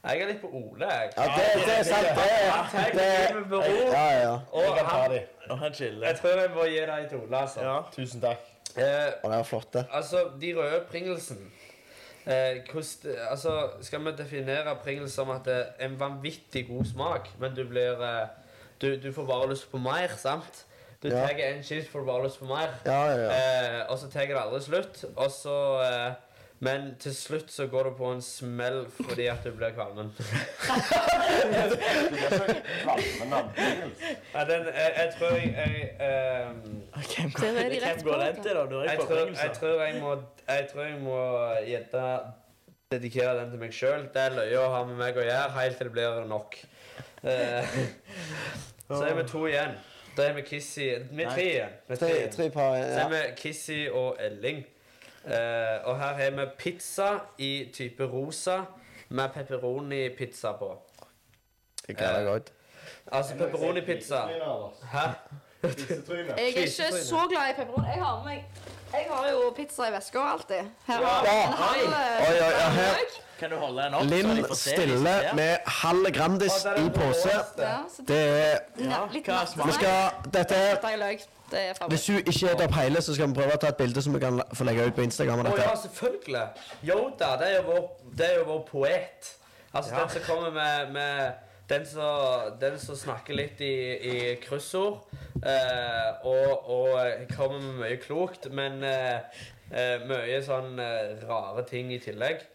Speaker 4: Jeg er litt på Ole, jeg.
Speaker 1: Ja, det, det er sant. Det
Speaker 4: Han
Speaker 1: er
Speaker 4: tar
Speaker 1: det,
Speaker 4: livet med ro.
Speaker 1: Ja, ja.
Speaker 4: Og
Speaker 5: Jeg kan ta
Speaker 4: han,
Speaker 5: de.
Speaker 3: Å, han
Speaker 4: jeg
Speaker 3: chiller.
Speaker 4: tror jeg må gi deg til Ole, altså.
Speaker 3: Ja.
Speaker 5: Tusen takk.
Speaker 4: Eh,
Speaker 1: Å, det var flott, det.
Speaker 4: Altså, de røde Pringlesen eh, hvordan, altså, Skal vi definere Pringles som at det er en vanvittig god smak, men du blir eh, du, du får bare lyst på mer, sant? Du
Speaker 1: Ja.
Speaker 4: tar en chips, får du bare lyst på mer.
Speaker 1: Ja, ja, ja.
Speaker 4: Eh, og så tar det aldri slutt. Og så eh, Men til slutt så går du på en smell fordi at du blir kvalmen.
Speaker 5: Du blir så kvalmen av Pringles.
Speaker 4: Ja, den, jeg, jeg tror jeg jeg, eh,
Speaker 3: Hvem går,
Speaker 2: Det er de rett
Speaker 3: hvem
Speaker 2: på,
Speaker 3: går den
Speaker 2: da.
Speaker 3: til, da? Du er
Speaker 4: jeg,
Speaker 3: jeg på
Speaker 4: tror, jeg
Speaker 3: Pringles. da.
Speaker 4: tror jeg må Jeg tror jeg må gjette dedikere den til meg sjøl. Det er løye å ha med meg å gjøre helt til det blir nok. Eh, så er vi to igjen. Da er vi Kissy Vi er tre igjen. Vi
Speaker 1: Tre,
Speaker 4: er tre igjen.
Speaker 1: tre par
Speaker 4: Så
Speaker 1: ja.
Speaker 4: er vi Kissy og Elling. Eh, og her har vi pizza i type rosa med pepperoni-pizza på.
Speaker 1: Jeg gleder meg godt.
Speaker 4: Altså pepperoni-pizza. Hæ?
Speaker 5: Grisetryne.
Speaker 2: Jeg er ikke
Speaker 4: Krisetryne.
Speaker 2: så glad i pepperoni. Jeg har med meg Jeg har jo pizza i veska alltid. Her har
Speaker 1: Ja.
Speaker 2: jeg en halv
Speaker 1: Oi,
Speaker 2: eh,
Speaker 1: oi, ja, her.
Speaker 2: løk.
Speaker 3: Kan du holde den opp? så de
Speaker 1: Linn
Speaker 3: får se
Speaker 1: stiller
Speaker 3: disse her?
Speaker 1: med halv Grandis
Speaker 4: Å, der er
Speaker 1: i
Speaker 4: den
Speaker 1: pose.
Speaker 4: råeste.
Speaker 2: Ja, så det
Speaker 1: Det er
Speaker 2: ja,
Speaker 3: Ja,
Speaker 2: litt
Speaker 3: hva
Speaker 2: natt.
Speaker 3: smaker
Speaker 1: Vi skal Dette er
Speaker 2: Dette er løk. Det er
Speaker 1: Hvis
Speaker 2: favoritt.
Speaker 1: hun ikke spiser opp hele, så skal vi prøve å ta et bilde som vi kan la- få legge ut på Instagram. av
Speaker 4: Å
Speaker 1: dette.
Speaker 4: ja, selvfølgelig. Yoda, det er jo vår, det er jo vår poet. Altså den som kommer med, med den, som, den som snakker litt i, i kryssord, eh, og, og kommer med mye klokt, men eh, eh, mye sånn eh, rare ting i tillegg.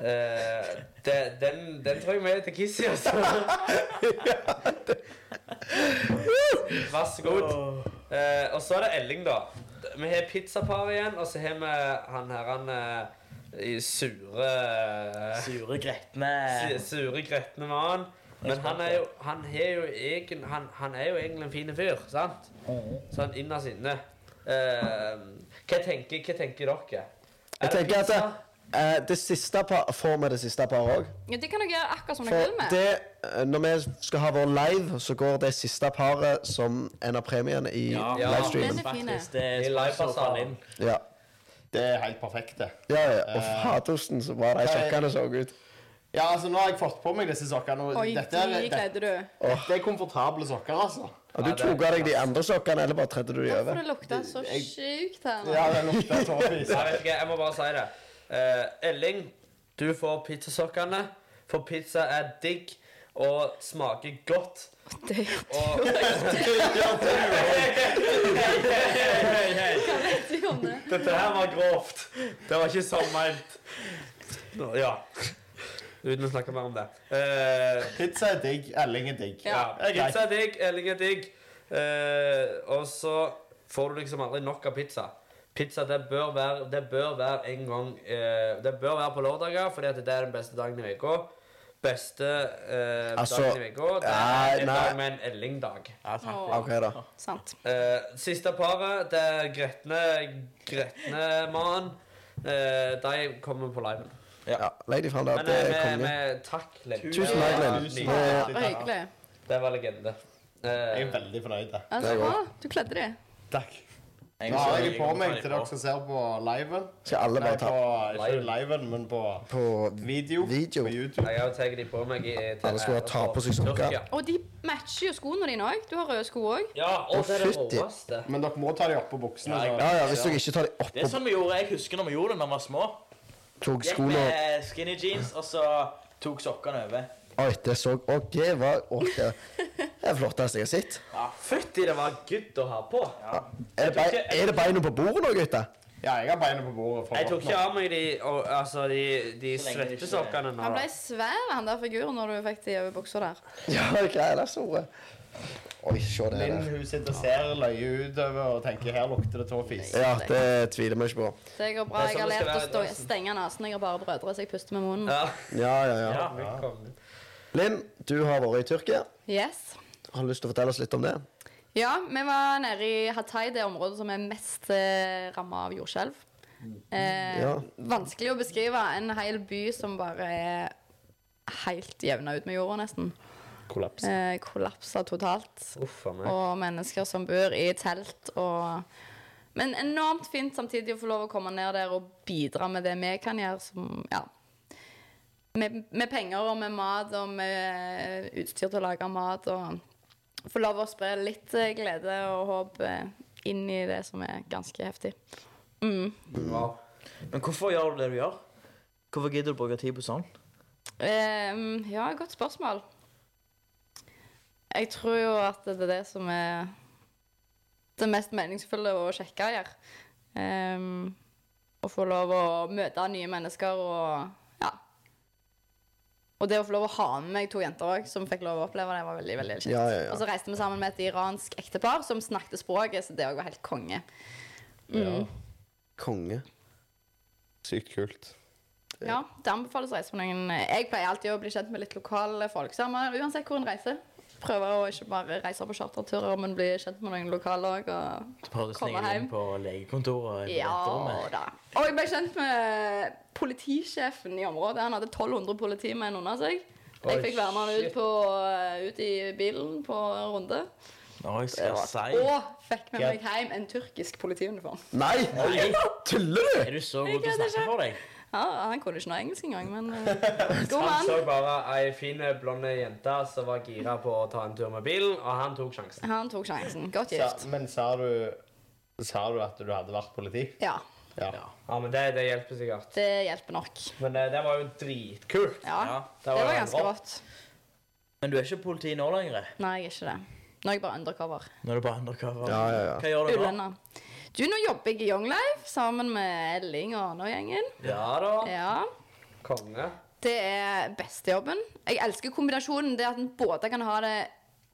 Speaker 4: Eh, det, den, den tror jeg vi er til Kissy, altså. Vær så god. Eh, og så er det Elling, da. Vi har pizzapar igjen, og så har vi han her han eh, i sure eh,
Speaker 3: Sure, gretne
Speaker 4: si- Sure, gretne mannen. Men han er jo, han har jo, egen, han, han er jo egentlig en fin fyr, sant? Sånn innerst inne. Eh, hva, tenker, hva tenker dere? Er
Speaker 1: Jeg
Speaker 4: det
Speaker 1: tenker at det,
Speaker 4: pizza?
Speaker 1: eh, det siste par får vi det siste paret òg.
Speaker 2: Ja, det kan dere gjøre akkurat som dere
Speaker 1: For
Speaker 2: vil med.
Speaker 1: det, eh, når vi skal ha vår live, så går det siste paret som en av premiene i
Speaker 3: Ja.
Speaker 4: Ja.
Speaker 1: livestreamen.
Speaker 2: Den er fin,
Speaker 3: Faktisk, det er
Speaker 4: I
Speaker 3: sponsoren fra
Speaker 4: livebasaren.
Speaker 3: Linn.
Speaker 1: Ja.
Speaker 5: Det er helt perfekt, det.
Speaker 1: Ja, ja. Og fadersen, så bra de sokkene så ut.
Speaker 5: Ja, altså, nå har jeg fått på meg disse sokkene. og
Speaker 2: Oi,
Speaker 5: Dette er,
Speaker 2: de
Speaker 5: det,
Speaker 2: kledde du.
Speaker 5: dette er komfortable sokker, altså.
Speaker 1: Og du
Speaker 4: Ja, det er
Speaker 1: tok av deg de andre sokkene, eller bare tredde du de
Speaker 2: Hvorfor
Speaker 1: over?
Speaker 2: det lukta så
Speaker 5: Jeg-
Speaker 2: sjukt her nå?
Speaker 5: Ja, det lukter tåfis.
Speaker 4: Nei, vet ikke, jeg må bare si det. Eh, Elling, du får pizzasokkene, for pizza er digg og smaker godt.
Speaker 2: Det
Speaker 4: Og
Speaker 2: Hva vet du om det?
Speaker 4: Dette her var grovt. Det var ikke sånn meint. Nå, Ja. Uten å snakke mer om det. Eh,
Speaker 5: Pizza er digg, Elling er digg.
Speaker 4: ja.
Speaker 2: Ja.
Speaker 5: Det er greit.
Speaker 4: Pizza er digg, Elling er digg. Eh, og så får du liksom aldri nok av pizza. Pizza det bør være, det bør være en gang eh, Det bør være på lørdager, fordi at det er den beste dagen i uka. Beste eh,
Speaker 1: Altså,
Speaker 4: dagen i uka. Det
Speaker 1: nei,
Speaker 4: er en
Speaker 1: nei.
Speaker 4: dag med en Elling-dag.
Speaker 3: Ja, takk.
Speaker 2: Åh,
Speaker 1: OK, da.
Speaker 2: sant.
Speaker 4: Eh, siste paret, det er Gretne Gretne-mannen. Eh, de kommer på liven.
Speaker 1: Ja, Legg de fram der.
Speaker 4: Men
Speaker 1: Det er
Speaker 4: eh, med,
Speaker 1: konge.
Speaker 4: med takk, Linn.
Speaker 1: Tusen takk, Linn.
Speaker 5: Tusen
Speaker 2: Det
Speaker 5: takk.
Speaker 2: var hyggelig.
Speaker 4: Det var legende.
Speaker 5: Jeg
Speaker 4: Eh,
Speaker 5: er veldig fornøyd. da.
Speaker 2: Altså,
Speaker 1: Det er
Speaker 2: bra.
Speaker 1: godt.
Speaker 2: Du kledde de.
Speaker 5: Takk. Nå har jeg de på meg til dere
Speaker 3: også.
Speaker 5: som ser på liven.
Speaker 1: Skal alle
Speaker 5: Nei,
Speaker 1: bare
Speaker 5: på,
Speaker 1: ta
Speaker 5: ikke liven, men på
Speaker 1: på
Speaker 5: video.
Speaker 1: Video.
Speaker 5: På YouTube.
Speaker 4: jeg har tatt de på meg i til
Speaker 1: Alle skulle
Speaker 4: ære
Speaker 1: ta
Speaker 4: for
Speaker 1: på seg sokker.
Speaker 4: Tyrkia.
Speaker 2: Og de matcher jo skoene dine òg. Du har røde sko òg.
Speaker 4: Ja, og det er det
Speaker 1: fytti.
Speaker 4: råeste.
Speaker 5: Men dere må ta de oppå buksene.
Speaker 3: Ja, jeg-
Speaker 5: så-
Speaker 1: Ja, ja, hvis dere ikke tar de
Speaker 3: Det er
Speaker 1: oppå
Speaker 3: sånn vi gjorde, Jeg husker når vi gjorde det når vi var små.
Speaker 1: tok
Speaker 3: Gikk
Speaker 1: skoene og-
Speaker 3: med eh, skinny jeans, og så tok sokkene over.
Speaker 1: Oi, det så Og det var Å, det det er det flotteste jeg har sett.
Speaker 4: Ja, Fytti, det var good å ha på.
Speaker 1: Er det,
Speaker 3: Jeg tror
Speaker 1: bei,
Speaker 3: ikke-
Speaker 1: er det beina på bordet nå, gutter?
Speaker 5: Ja, jeg har beina på bordet. for
Speaker 4: Jeg tok
Speaker 5: å-
Speaker 4: ikke av meg de, og, altså, de, de
Speaker 3: Så lenge det ikke-
Speaker 4: svettesokkene nå.
Speaker 2: Han
Speaker 4: da.
Speaker 2: ble svær, han der figuren, når du fikk de over buksa der.
Speaker 1: Ja, hva er det, Sore? Oi, se det
Speaker 5: Linn
Speaker 1: der.
Speaker 5: hun sitter og ser løye utover og tenker her lukter det tåfis.
Speaker 1: Ja, det tviler vi ikke på.
Speaker 2: Det går bra.
Speaker 4: Det
Speaker 2: Jeg har
Speaker 4: er sånn det
Speaker 2: lært å
Speaker 4: skal
Speaker 2: stå,
Speaker 4: være, Larsen.
Speaker 2: stenge nesen. Jeg har bare brødre, så jeg puster med munnen.
Speaker 4: Ja.
Speaker 1: Ja, ja, ja.
Speaker 3: Ja.
Speaker 4: Velkommen.
Speaker 1: Linn, du har vært i Tyrkia.
Speaker 2: Yes.
Speaker 1: Har du lyst til å fortelle oss litt om det?
Speaker 2: Ja, vi var nede i Hatay, det området som er mest eh, ramma av jordskjelv.
Speaker 4: Mm.
Speaker 2: Eh,
Speaker 1: Ja.
Speaker 2: Vanskelig å beskrive. En hel by som bare er helt jevna ut med jorda, nesten.
Speaker 4: Kollaps.
Speaker 2: Eh, kollapsa totalt.
Speaker 4: Uff a meg.
Speaker 2: Og mennesker som bor i telt og Men enormt fint samtidig å få lov å komme ned der og bidra med det vi kan gjøre som Ja. Med, med penger og med mat og med utstyr til å lage mat og Få lov å spre litt eh, glede og håp eh, inn i det som er ganske heftig. Mm.
Speaker 1: Mm.
Speaker 4: Wow.
Speaker 3: Men hvorfor gjør du det du gjør? Hvorfor gidder du å bruke tid på sånn?
Speaker 2: Eh, ja, godt spørsmål. Jeg tror jo at det er det som er det mest meningsfulle å sjekke her. Um, å få lov å møte nye mennesker og ja. Og det å få lov å ha med meg to jenter òg, som fikk lov å oppleve det, var veldig veldig kjekt.
Speaker 1: Ja, ja, ja.
Speaker 2: Og så reiste vi sammen med et iransk ektepar som snakket språket, så det òg var helt konge.
Speaker 5: Ja.
Speaker 1: Konge.
Speaker 5: Sykt kult.
Speaker 2: Ja, det anbefales å reise med noen. eh, Jeg pleier alltid å bli kjent med litt lokale folk. Sammen, uansett hvor en reiser. Prøve å ikke bare reise på charterturer, men bli kjent med noen lokale òg. Og...
Speaker 3: Prøvde å
Speaker 2: Komme
Speaker 3: snike deg
Speaker 2: hjem.
Speaker 3: inn på legekontoret? på
Speaker 2: Ja
Speaker 3: venterommet.
Speaker 2: da. Og jeg ble kjent med politisjefen i området. Han hadde 1200 politimenn under seg. Jeg
Speaker 4: Oi,
Speaker 2: fikk være med han ut,
Speaker 4: shit.
Speaker 2: på, eh, ut i bilen på runde.
Speaker 3: Nå, jeg skal si.
Speaker 2: Og fikk med meg hjem en tyrkisk politiuniform.
Speaker 1: Nei! Tuller du?!
Speaker 3: Er du så god til å
Speaker 2: kødder
Speaker 3: snakke
Speaker 2: ikke.
Speaker 3: for deg?
Speaker 2: Ja, han kunne ikke noe engelsk engang, men eh, god
Speaker 4: Han
Speaker 2: mann.
Speaker 4: så bare ei fin, blonde jente som var gira på å ta en tur med bilen, og han tok sjansen.
Speaker 2: Han tok sjansen. Godt
Speaker 5: Sa,
Speaker 2: gift.
Speaker 5: men sa du Sa du at du hadde vært politi?
Speaker 2: Ja.
Speaker 5: Ja.
Speaker 4: Ja, men det, det hjelper sikkert.
Speaker 2: Det hjelper nok.
Speaker 4: Men eh, det, det var jo dritkult.
Speaker 2: Ja.
Speaker 3: Ja.
Speaker 2: Det var
Speaker 4: jo
Speaker 2: ganske rått.
Speaker 3: Men du er ikke politi nå lenger?
Speaker 2: Nei, jeg er ikke det. Nå er jeg bare undercover.
Speaker 3: Når du er på undercover?
Speaker 1: Ja, ja, ja.
Speaker 3: Hva gjør du nå?
Speaker 2: Ulønna. Du, nå jobber jeg i Young Life sammen med Elling og Arne-gjengen.
Speaker 4: Ja da.
Speaker 2: Ja.
Speaker 4: Konge.
Speaker 2: Det er bestejobben. Jeg elsker kombinasjonen. Det at en både kan ha det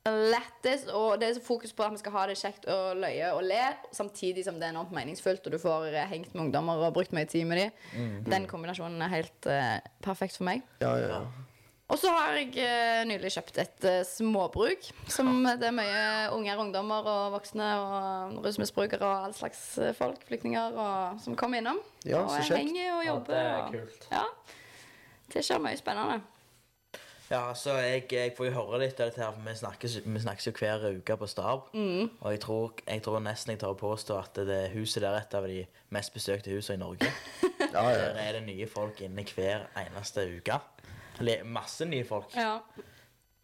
Speaker 2: lettest, og det er så fokus på at vi skal ha det kjekt og løye og le, samtidig som det er enormt meningsfullt, og du får eh, hengt med ungdommer og brukt mye tid med dem. Den kombinasjonen er helt eh, perfekt for meg.
Speaker 1: Ja, ja, ja.
Speaker 2: Og så har jeg eh, nylig kjøpt et eh, småbruk. Som det er mye unger, ungdommer og voksne og rusmisbrukere og all slags eh, folk, flyktninger, og, som kommer innom.
Speaker 1: Ja,
Speaker 2: og
Speaker 1: så
Speaker 2: jeg
Speaker 1: kjekt.
Speaker 2: henger og
Speaker 4: Ja,
Speaker 2: jobber.
Speaker 4: det er
Speaker 2: og-
Speaker 4: kult.
Speaker 2: Ja, det skjer mye spennende.
Speaker 3: Ja, så jeg, jeg får jo høre litt av dette her, for vi snakkes, vi snakkes jo hver uke på stab. Og jeg tror, jeg tror nesten jeg tør å påstå at det huset der er et av de mest besøkte husene i Norge.
Speaker 1: ja, ja.
Speaker 3: Der er det nye folk inne hver eneste uke. Eller masse nye folk.
Speaker 2: Ja.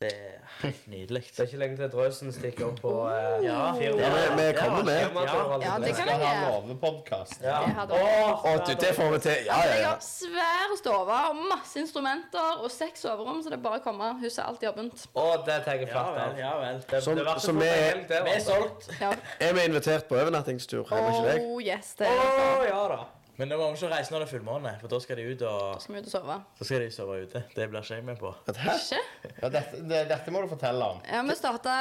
Speaker 3: Det er helt nydelig.
Speaker 4: Det er ikke lenge til drøsen stikker opp på eh,
Speaker 3: Ja,
Speaker 4: firma.
Speaker 1: Ja, vi- vi
Speaker 3: det var
Speaker 1: kommer med.
Speaker 3: skjema på alt.
Speaker 2: Ja, det
Speaker 5: Jeg
Speaker 2: kan
Speaker 5: skal ha
Speaker 2: jeg gjøre.
Speaker 5: lovepodkast.
Speaker 4: Ja.
Speaker 2: Jeg hadde-
Speaker 4: Åh,
Speaker 1: Å, du, det får vi til. Ja, ja,
Speaker 2: Jeg
Speaker 1: ja.
Speaker 2: har svær stove og masse instrumenter og seks soverom, så det er bare å komme. Huset er alltid åpent.
Speaker 4: Åh, det tar jeg
Speaker 3: Ja
Speaker 4: flatt
Speaker 3: vel,
Speaker 4: av.
Speaker 3: ja vel.
Speaker 4: Det,
Speaker 1: Som-
Speaker 4: det verste
Speaker 1: som
Speaker 4: for meg
Speaker 1: er-
Speaker 4: helt, det,
Speaker 3: Vi er
Speaker 4: altså.
Speaker 3: solgt.
Speaker 2: Ja.
Speaker 1: Er vi invitert på overnattingstur? Er vi ikke deg?
Speaker 2: Oh, yes, det er
Speaker 4: Åh,
Speaker 2: det.
Speaker 4: ja da.
Speaker 3: Men nå må vi ikke reise når det er fullmåne, for da skal de ut og
Speaker 2: Skal vi ut og sove?
Speaker 3: Så skal de sove ute. Det blir ikke jeg med på.
Speaker 1: Hæ?
Speaker 2: Ikke?
Speaker 5: Ja, dette, det, dette må du fortelle om.
Speaker 2: Ja, vi starta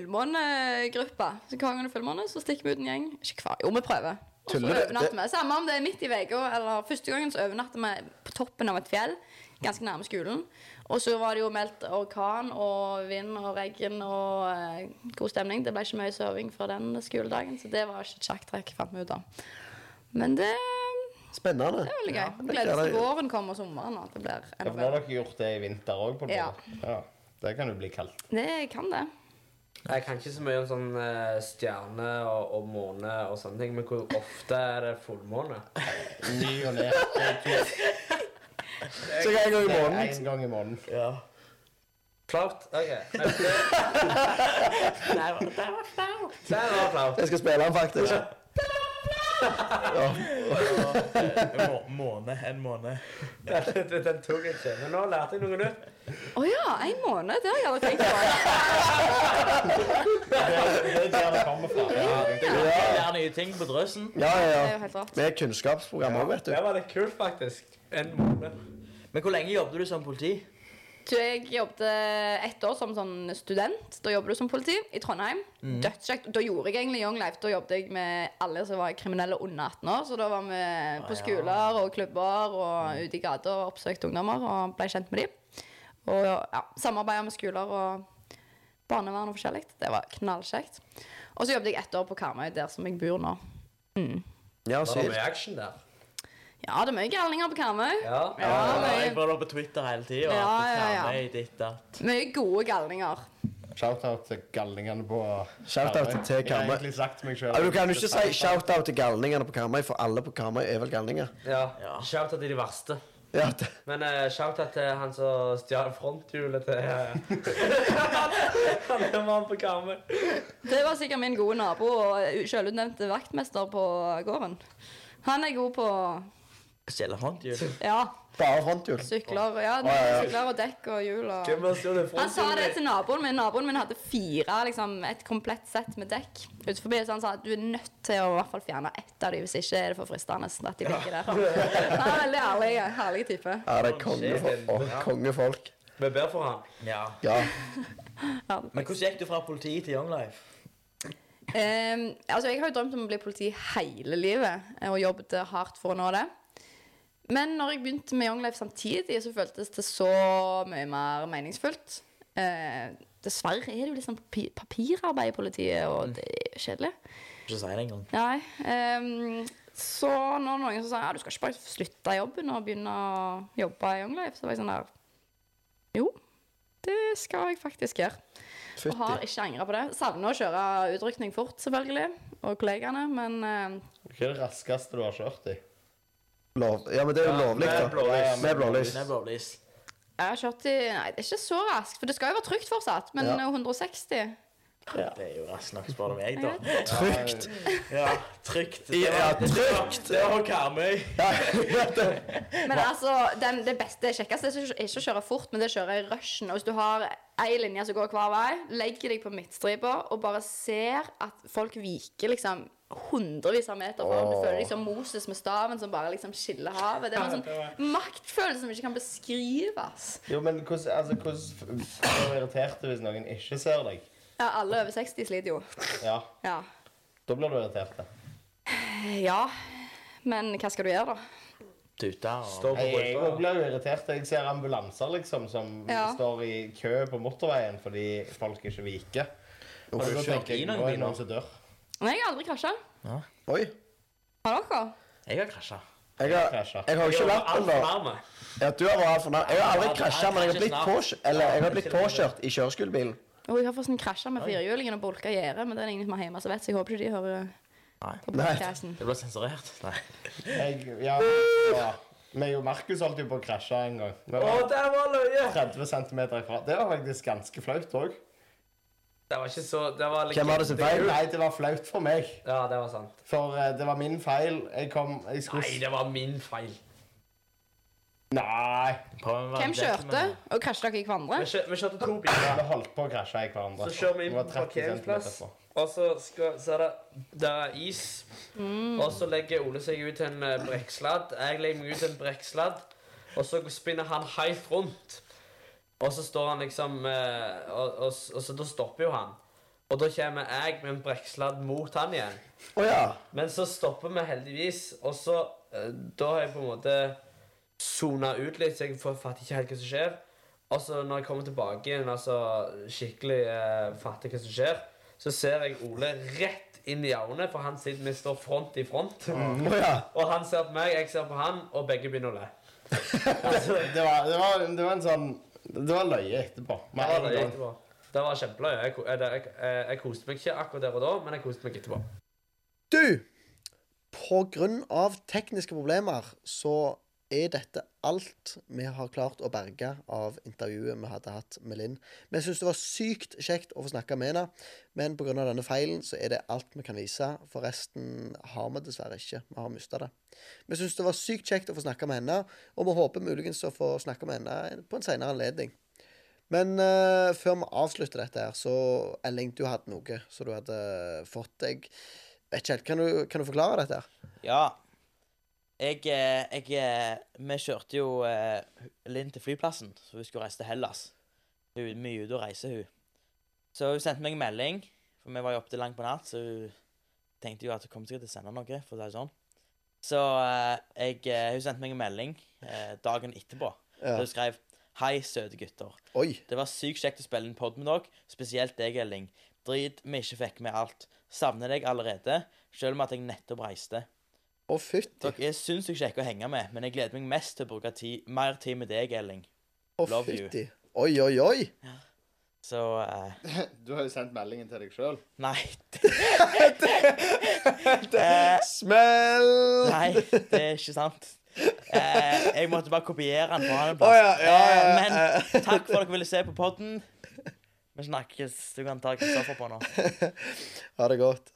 Speaker 2: fullmånegruppa. Så Hver gang det er fullmåne, så stikker vi ut en gjeng. Ikke hver, jo, vi prøver. Og så
Speaker 1: Tuller du?
Speaker 2: overnatter vi. Samme om det er midt i uka eller første gangen, så overnatter vi på toppen av et fjell. Ganske nærme skolen. Og så var det jo meldt orkan og vind og regn og eh, god stemning. Det ble ikke mye soving fra den skoledagen, så det var ikke et sjakktrekk, fant vi ut av. Men det er
Speaker 1: Spennende.
Speaker 2: veldig gøy.
Speaker 1: Ja, det
Speaker 2: Gleder oss
Speaker 1: gleder jeg.
Speaker 2: til våren kommer og sommeren. og At det blir
Speaker 5: Ja,
Speaker 2: enda
Speaker 5: for nå har
Speaker 2: bedre.
Speaker 5: dere gjort det i vinter òg.
Speaker 2: Ja.
Speaker 5: Ja. Det kan jo bli kaldt.
Speaker 2: Det kan det.
Speaker 4: Jeg kan ikke så mye om sånn eh, stjerne og, og måne og sånne ting, men hvor ofte er det fullmåne?
Speaker 5: Ny og ned.
Speaker 1: Så jeg går i måneden.
Speaker 5: En gang i måneden.
Speaker 3: Ja.
Speaker 4: Flaut? OK. Men det,
Speaker 3: Nei, det var flaut.
Speaker 4: det var flaut.
Speaker 1: Jeg skal spille den, faktisk.
Speaker 3: Må, måne. En måned.
Speaker 4: Den, den tok jeg ikke. Men nå lærte jeg noe nytt.
Speaker 2: Å ja, en måned. Det har jeg aldri tenkt på.
Speaker 5: Det er der det kommer fra.
Speaker 3: Det er nye ting på drøsen.
Speaker 1: Ja, ja,
Speaker 2: Det er
Speaker 1: ja.
Speaker 2: jo helt rart.
Speaker 1: Vi er et kunnskapsprogram òg, vet du.
Speaker 4: Det var litt kult, faktisk. En måne.
Speaker 3: Men hvor lenge jobbet du som politi?
Speaker 2: Du, jeg jobbet ett år som sånn student. Da jobber du som politi i Trondheim. Dødskjekt. Da gjorde jeg egentlig Young Life. Da jobbet jeg med alle som var kriminelle under 18 år. Så da var vi på skoler og klubber og ute i gata og oppsøkte ungdommer og ble kjent med dem. Og ja, samarbeida med skoler og barnevern og forskjellig. Det var knallkjekt. Og så jobbet jeg ett år på Karmøy, der som jeg bor nå.
Speaker 1: Ja,
Speaker 4: Var det
Speaker 1: sykt.
Speaker 4: mye action der?
Speaker 2: Ja, det er mye galninger på Karmøy.
Speaker 4: Ja.
Speaker 2: Ja,
Speaker 3: jeg
Speaker 2: mye,
Speaker 3: var da på Twitter hele tida.
Speaker 2: Ja, ja, ja.
Speaker 3: Ditt, datt.
Speaker 2: mye gode galninger.
Speaker 5: Shout-out til galningene på
Speaker 1: Shout-out til
Speaker 5: Jeg har
Speaker 1: Karmøy.
Speaker 5: egentlig sagt meg selv.
Speaker 1: Ja, du kan jo ikke si shout-out til galningene på Karmøy, for alle på Karmøy er vel galninger.
Speaker 4: ja.
Speaker 3: Ja.
Speaker 4: Shout-out til de verste.
Speaker 1: Ja, det-
Speaker 4: Men uh, shout-out til han som stjal fronthjulet til eh, Han er mann på kammen.
Speaker 2: Det var sikkert min gode nabo og selvutnevnte vaktmester på gården. Han er god på
Speaker 3: Stjele håndhjul.
Speaker 2: ja,
Speaker 1: bare fronthjul.
Speaker 2: sykler, ja, sykler og dekk og hjul.
Speaker 4: Hvem
Speaker 2: Og...
Speaker 4: har stjålet
Speaker 2: Han sa det
Speaker 4: fronthjulet?
Speaker 2: til naboen min. Naboen min hadde fire, liksom, et komplett sett med dekk. Ut forbi, så han sa at du er nødt til å i hvert fall fjerne ett av dem, hvis ikke er det for fristende. at de ligger der. Han er en veldig ærlig, herlig type.
Speaker 1: Ja, det er kongefolk. Å, kongefolk.
Speaker 4: Vi ber for han.
Speaker 3: Ja.
Speaker 1: Ja.
Speaker 2: Ja.
Speaker 3: Men hvordan gikk du fra politi til Young Life?
Speaker 2: Ehm, altså, jeg har jo drømt om å bli politi hele livet eh, og jobbet hardt for å nå det. Men når jeg begynte med Young Life samtidig, så føltes det så mye mer meningsfullt. Eh, dessverre er det jo liksom papi- papirarbeid i politiet, og det er jo kjedelig.
Speaker 3: Ikke si det engang.
Speaker 2: Nei. ehm, så når noen som sa ja, du skal ikke bare slutte i jobben og begynne å jobbe i Young Life, så var jeg sånn der Jo, det skal jeg faktisk gjøre. Og
Speaker 1: Fytti.
Speaker 2: har ikke angra på det. Savner å kjøre utrykning fort, selvfølgelig, og kollegaene, men eh,
Speaker 5: Hva er det raskeste du har kjørt i?
Speaker 1: Lov. Ja, men det er jo lovlig,
Speaker 4: med
Speaker 1: da.
Speaker 4: blålys.
Speaker 1: Med blålys.
Speaker 3: Nei, blålys.
Speaker 2: jeg har kjørt i Nei, det er ikke så raskt, for det skal jo være trygt fortsatt, men
Speaker 1: Ja.
Speaker 2: 160
Speaker 3: Det er jo raskt nok, spør du meg, da.
Speaker 1: Trygt.
Speaker 3: Ja, trygt. Det
Speaker 1: Ja,
Speaker 3: var-
Speaker 1: trygt.
Speaker 3: Det var Karmøy.
Speaker 2: Men altså, den, det beste, det kjekkeste er ikke- ikke å kjøre fort, men det er å kjøre i rushen. Og hvis du har ei linje som går hver vei, legger deg på midtstripa og bare ser at folk viker liksom hundrevis av meter fra. deg. Du føler deg som Moses med staven som bare liksom skiller havet. Det var en sånn maktfølelse som ikke kan beskrives.
Speaker 5: Jo, men hvordan altså, hvordan f- blir du irritert hvis noen ikke ser deg?
Speaker 2: Ja, alle over 60 sliter jo.
Speaker 5: Ja,
Speaker 2: Ja.
Speaker 5: da blir du irritert. da.
Speaker 2: Ja, men hva skal du gjøre, da?
Speaker 3: Tuta og
Speaker 4: Står på
Speaker 5: Jeg, jeg
Speaker 4: ruta.
Speaker 5: også blir jo irritert. Jeg ser ambulanser liksom som
Speaker 2: Ja.
Speaker 5: står i kø på motorveien fordi folk ikke viker. Og
Speaker 1: Uff.
Speaker 5: da
Speaker 3: kjørt
Speaker 5: tenker
Speaker 3: i
Speaker 5: jeg
Speaker 3: noen
Speaker 5: nå er
Speaker 3: biler?
Speaker 5: det noen som dør.
Speaker 2: Men jeg har aldri krasja.
Speaker 1: Oi.
Speaker 2: Har dere?
Speaker 3: Jeg har krasja.
Speaker 1: Jeg har, jeg har ikke lappen, da. Ja, du har vært for nær. Jeg har aldri krasja, men jeg har blitt, påkjørt, eller, jeg har blitt påkjørt i kjøreskolebilen.
Speaker 2: Og jeg har forresten krasja med firehjulingen og bolka gjerdet, men det er ingen som er hjemme, så vet så jeg håper ikke de hører
Speaker 3: Nei.
Speaker 2: på podkasten.
Speaker 3: Det ble sensurert. Nei.
Speaker 5: Jeg, ja, ja. Meg og Markus holdt jo på å krasje en gang. Vi
Speaker 4: Å,
Speaker 5: var
Speaker 4: der var løye!
Speaker 5: 30 cm ifra. Det var faktisk ganske flaut òg.
Speaker 4: Det var ikke så det var litt-
Speaker 1: Hvem var det sin feil?
Speaker 5: Nei, det var flaut for meg.
Speaker 4: Ja, det var sant.
Speaker 5: For eh, det var min feil. Jeg kom Jeg skulle
Speaker 4: Nei, det var min feil.
Speaker 5: Nei.
Speaker 3: Prøv å være
Speaker 2: Hvem kjørte?
Speaker 3: gentleman.
Speaker 2: Og krasja dere i hverandre?
Speaker 4: Vi, kjø vi kjørte to biler.
Speaker 5: Vi holdt på å krasje i hverandre.
Speaker 4: Så kjører vi inn
Speaker 5: Det var
Speaker 4: på
Speaker 5: 30 centimeter
Speaker 4: parkeringsplass,
Speaker 5: fra.
Speaker 4: og så, skal, så er det, det er is. Og så legger Ole seg ut til en eh, brekksladd. Jeg legger meg ut til en brekksladd, og så spinner han helt rundt. Og så står han liksom eh, og, og, s- og så da stopper jo han. Og da kommer jeg med en brekksladd mot han igjen.
Speaker 1: Å ja.
Speaker 4: Men så stopper vi heldigvis, og så eh, Da har jeg på en måte sona ut litt, så jeg får- fatter ikke helt hva som skjer. Og så når jeg kommer tilbake igjen, altså skikkelig eh, fatter hva som skjer, så ser jeg Ole rett inn i øynene, for han sitter vi står front i front.
Speaker 1: Mm. Å ja.
Speaker 4: Og han ser på meg, jeg ser på han, og begge begynner å le. Altså,
Speaker 5: Det var, det, var, det var en sånn Det var løye etterpå. Med
Speaker 4: det var
Speaker 5: en
Speaker 4: løye
Speaker 5: gang.
Speaker 4: etterpå. Den var kjempeløy. Jeg, ko- eh, det- jeg, eh, jeg koste meg ikke akkurat der og da, men jeg koste meg etterpå.
Speaker 1: Du, på grunn av tekniske problemer så er dette alt vi har klart å berge av intervjuet vi hadde hatt med Linn. Vi syns det var sykt kjekt å få snakke med henne, men pga. denne feilen så er det alt vi kan vise. For resten har vi dessverre ikke. Vi har mista det. Vi syns det var sykt kjekt å få snakke med henne, og vi håper muligens å få snakke med henne på en senere anledning. Men eh, før vi avslutter dette her, så Elling, du hadde noe som du hadde fått deg. Vet ikke helt, kan du, kan du forklare dette? her?
Speaker 3: Ja. Jeg, eh, jeg eh, Vi kjørte jo eh, Linn til flyplassen, så hun skulle reise til Hellas. Hun er mye ute og reiser, hun. Så hun sendte meg en melding, for vi var jo oppe til langt på natt, så hun tenkte jo at hun kom sikkert til å sende noe, for å si det sånn. Så eh, jeg, eh, hun sendte meg en melding eh, dagen etterpå.
Speaker 1: Ja.
Speaker 3: Hun skrev 'Hei, søte gutter'.
Speaker 1: Oi.
Speaker 3: Det var sykt kjekt å spille inn pod med dere, spesielt deg, Elling. Drit vi ikke fikk med alt. Savner deg allerede, selv om at jeg nettopp reiste.
Speaker 1: Å, fytti.
Speaker 3: Dere er sinnssykt kjekke å henge med, men jeg gleder meg mest til å bruke tid, mer tid med deg, Elling.
Speaker 1: Å,
Speaker 3: love you.
Speaker 1: fytti. Oi, oi, oi.
Speaker 3: Så eh,
Speaker 5: Du har jo sendt meldingen til deg sjøl.
Speaker 3: Nei. Eh,
Speaker 1: Smell!
Speaker 3: Nei, det er ikke sant. Eh, jeg måtte bare kopiere den på han en
Speaker 1: Å
Speaker 3: plass.
Speaker 1: ja, ja, ja,
Speaker 3: Eh,
Speaker 1: ja.
Speaker 3: Men takk for at dere ville se på podden. Vi snakkes. Du kan ta Kristoffer på nå.
Speaker 1: Ha det godt.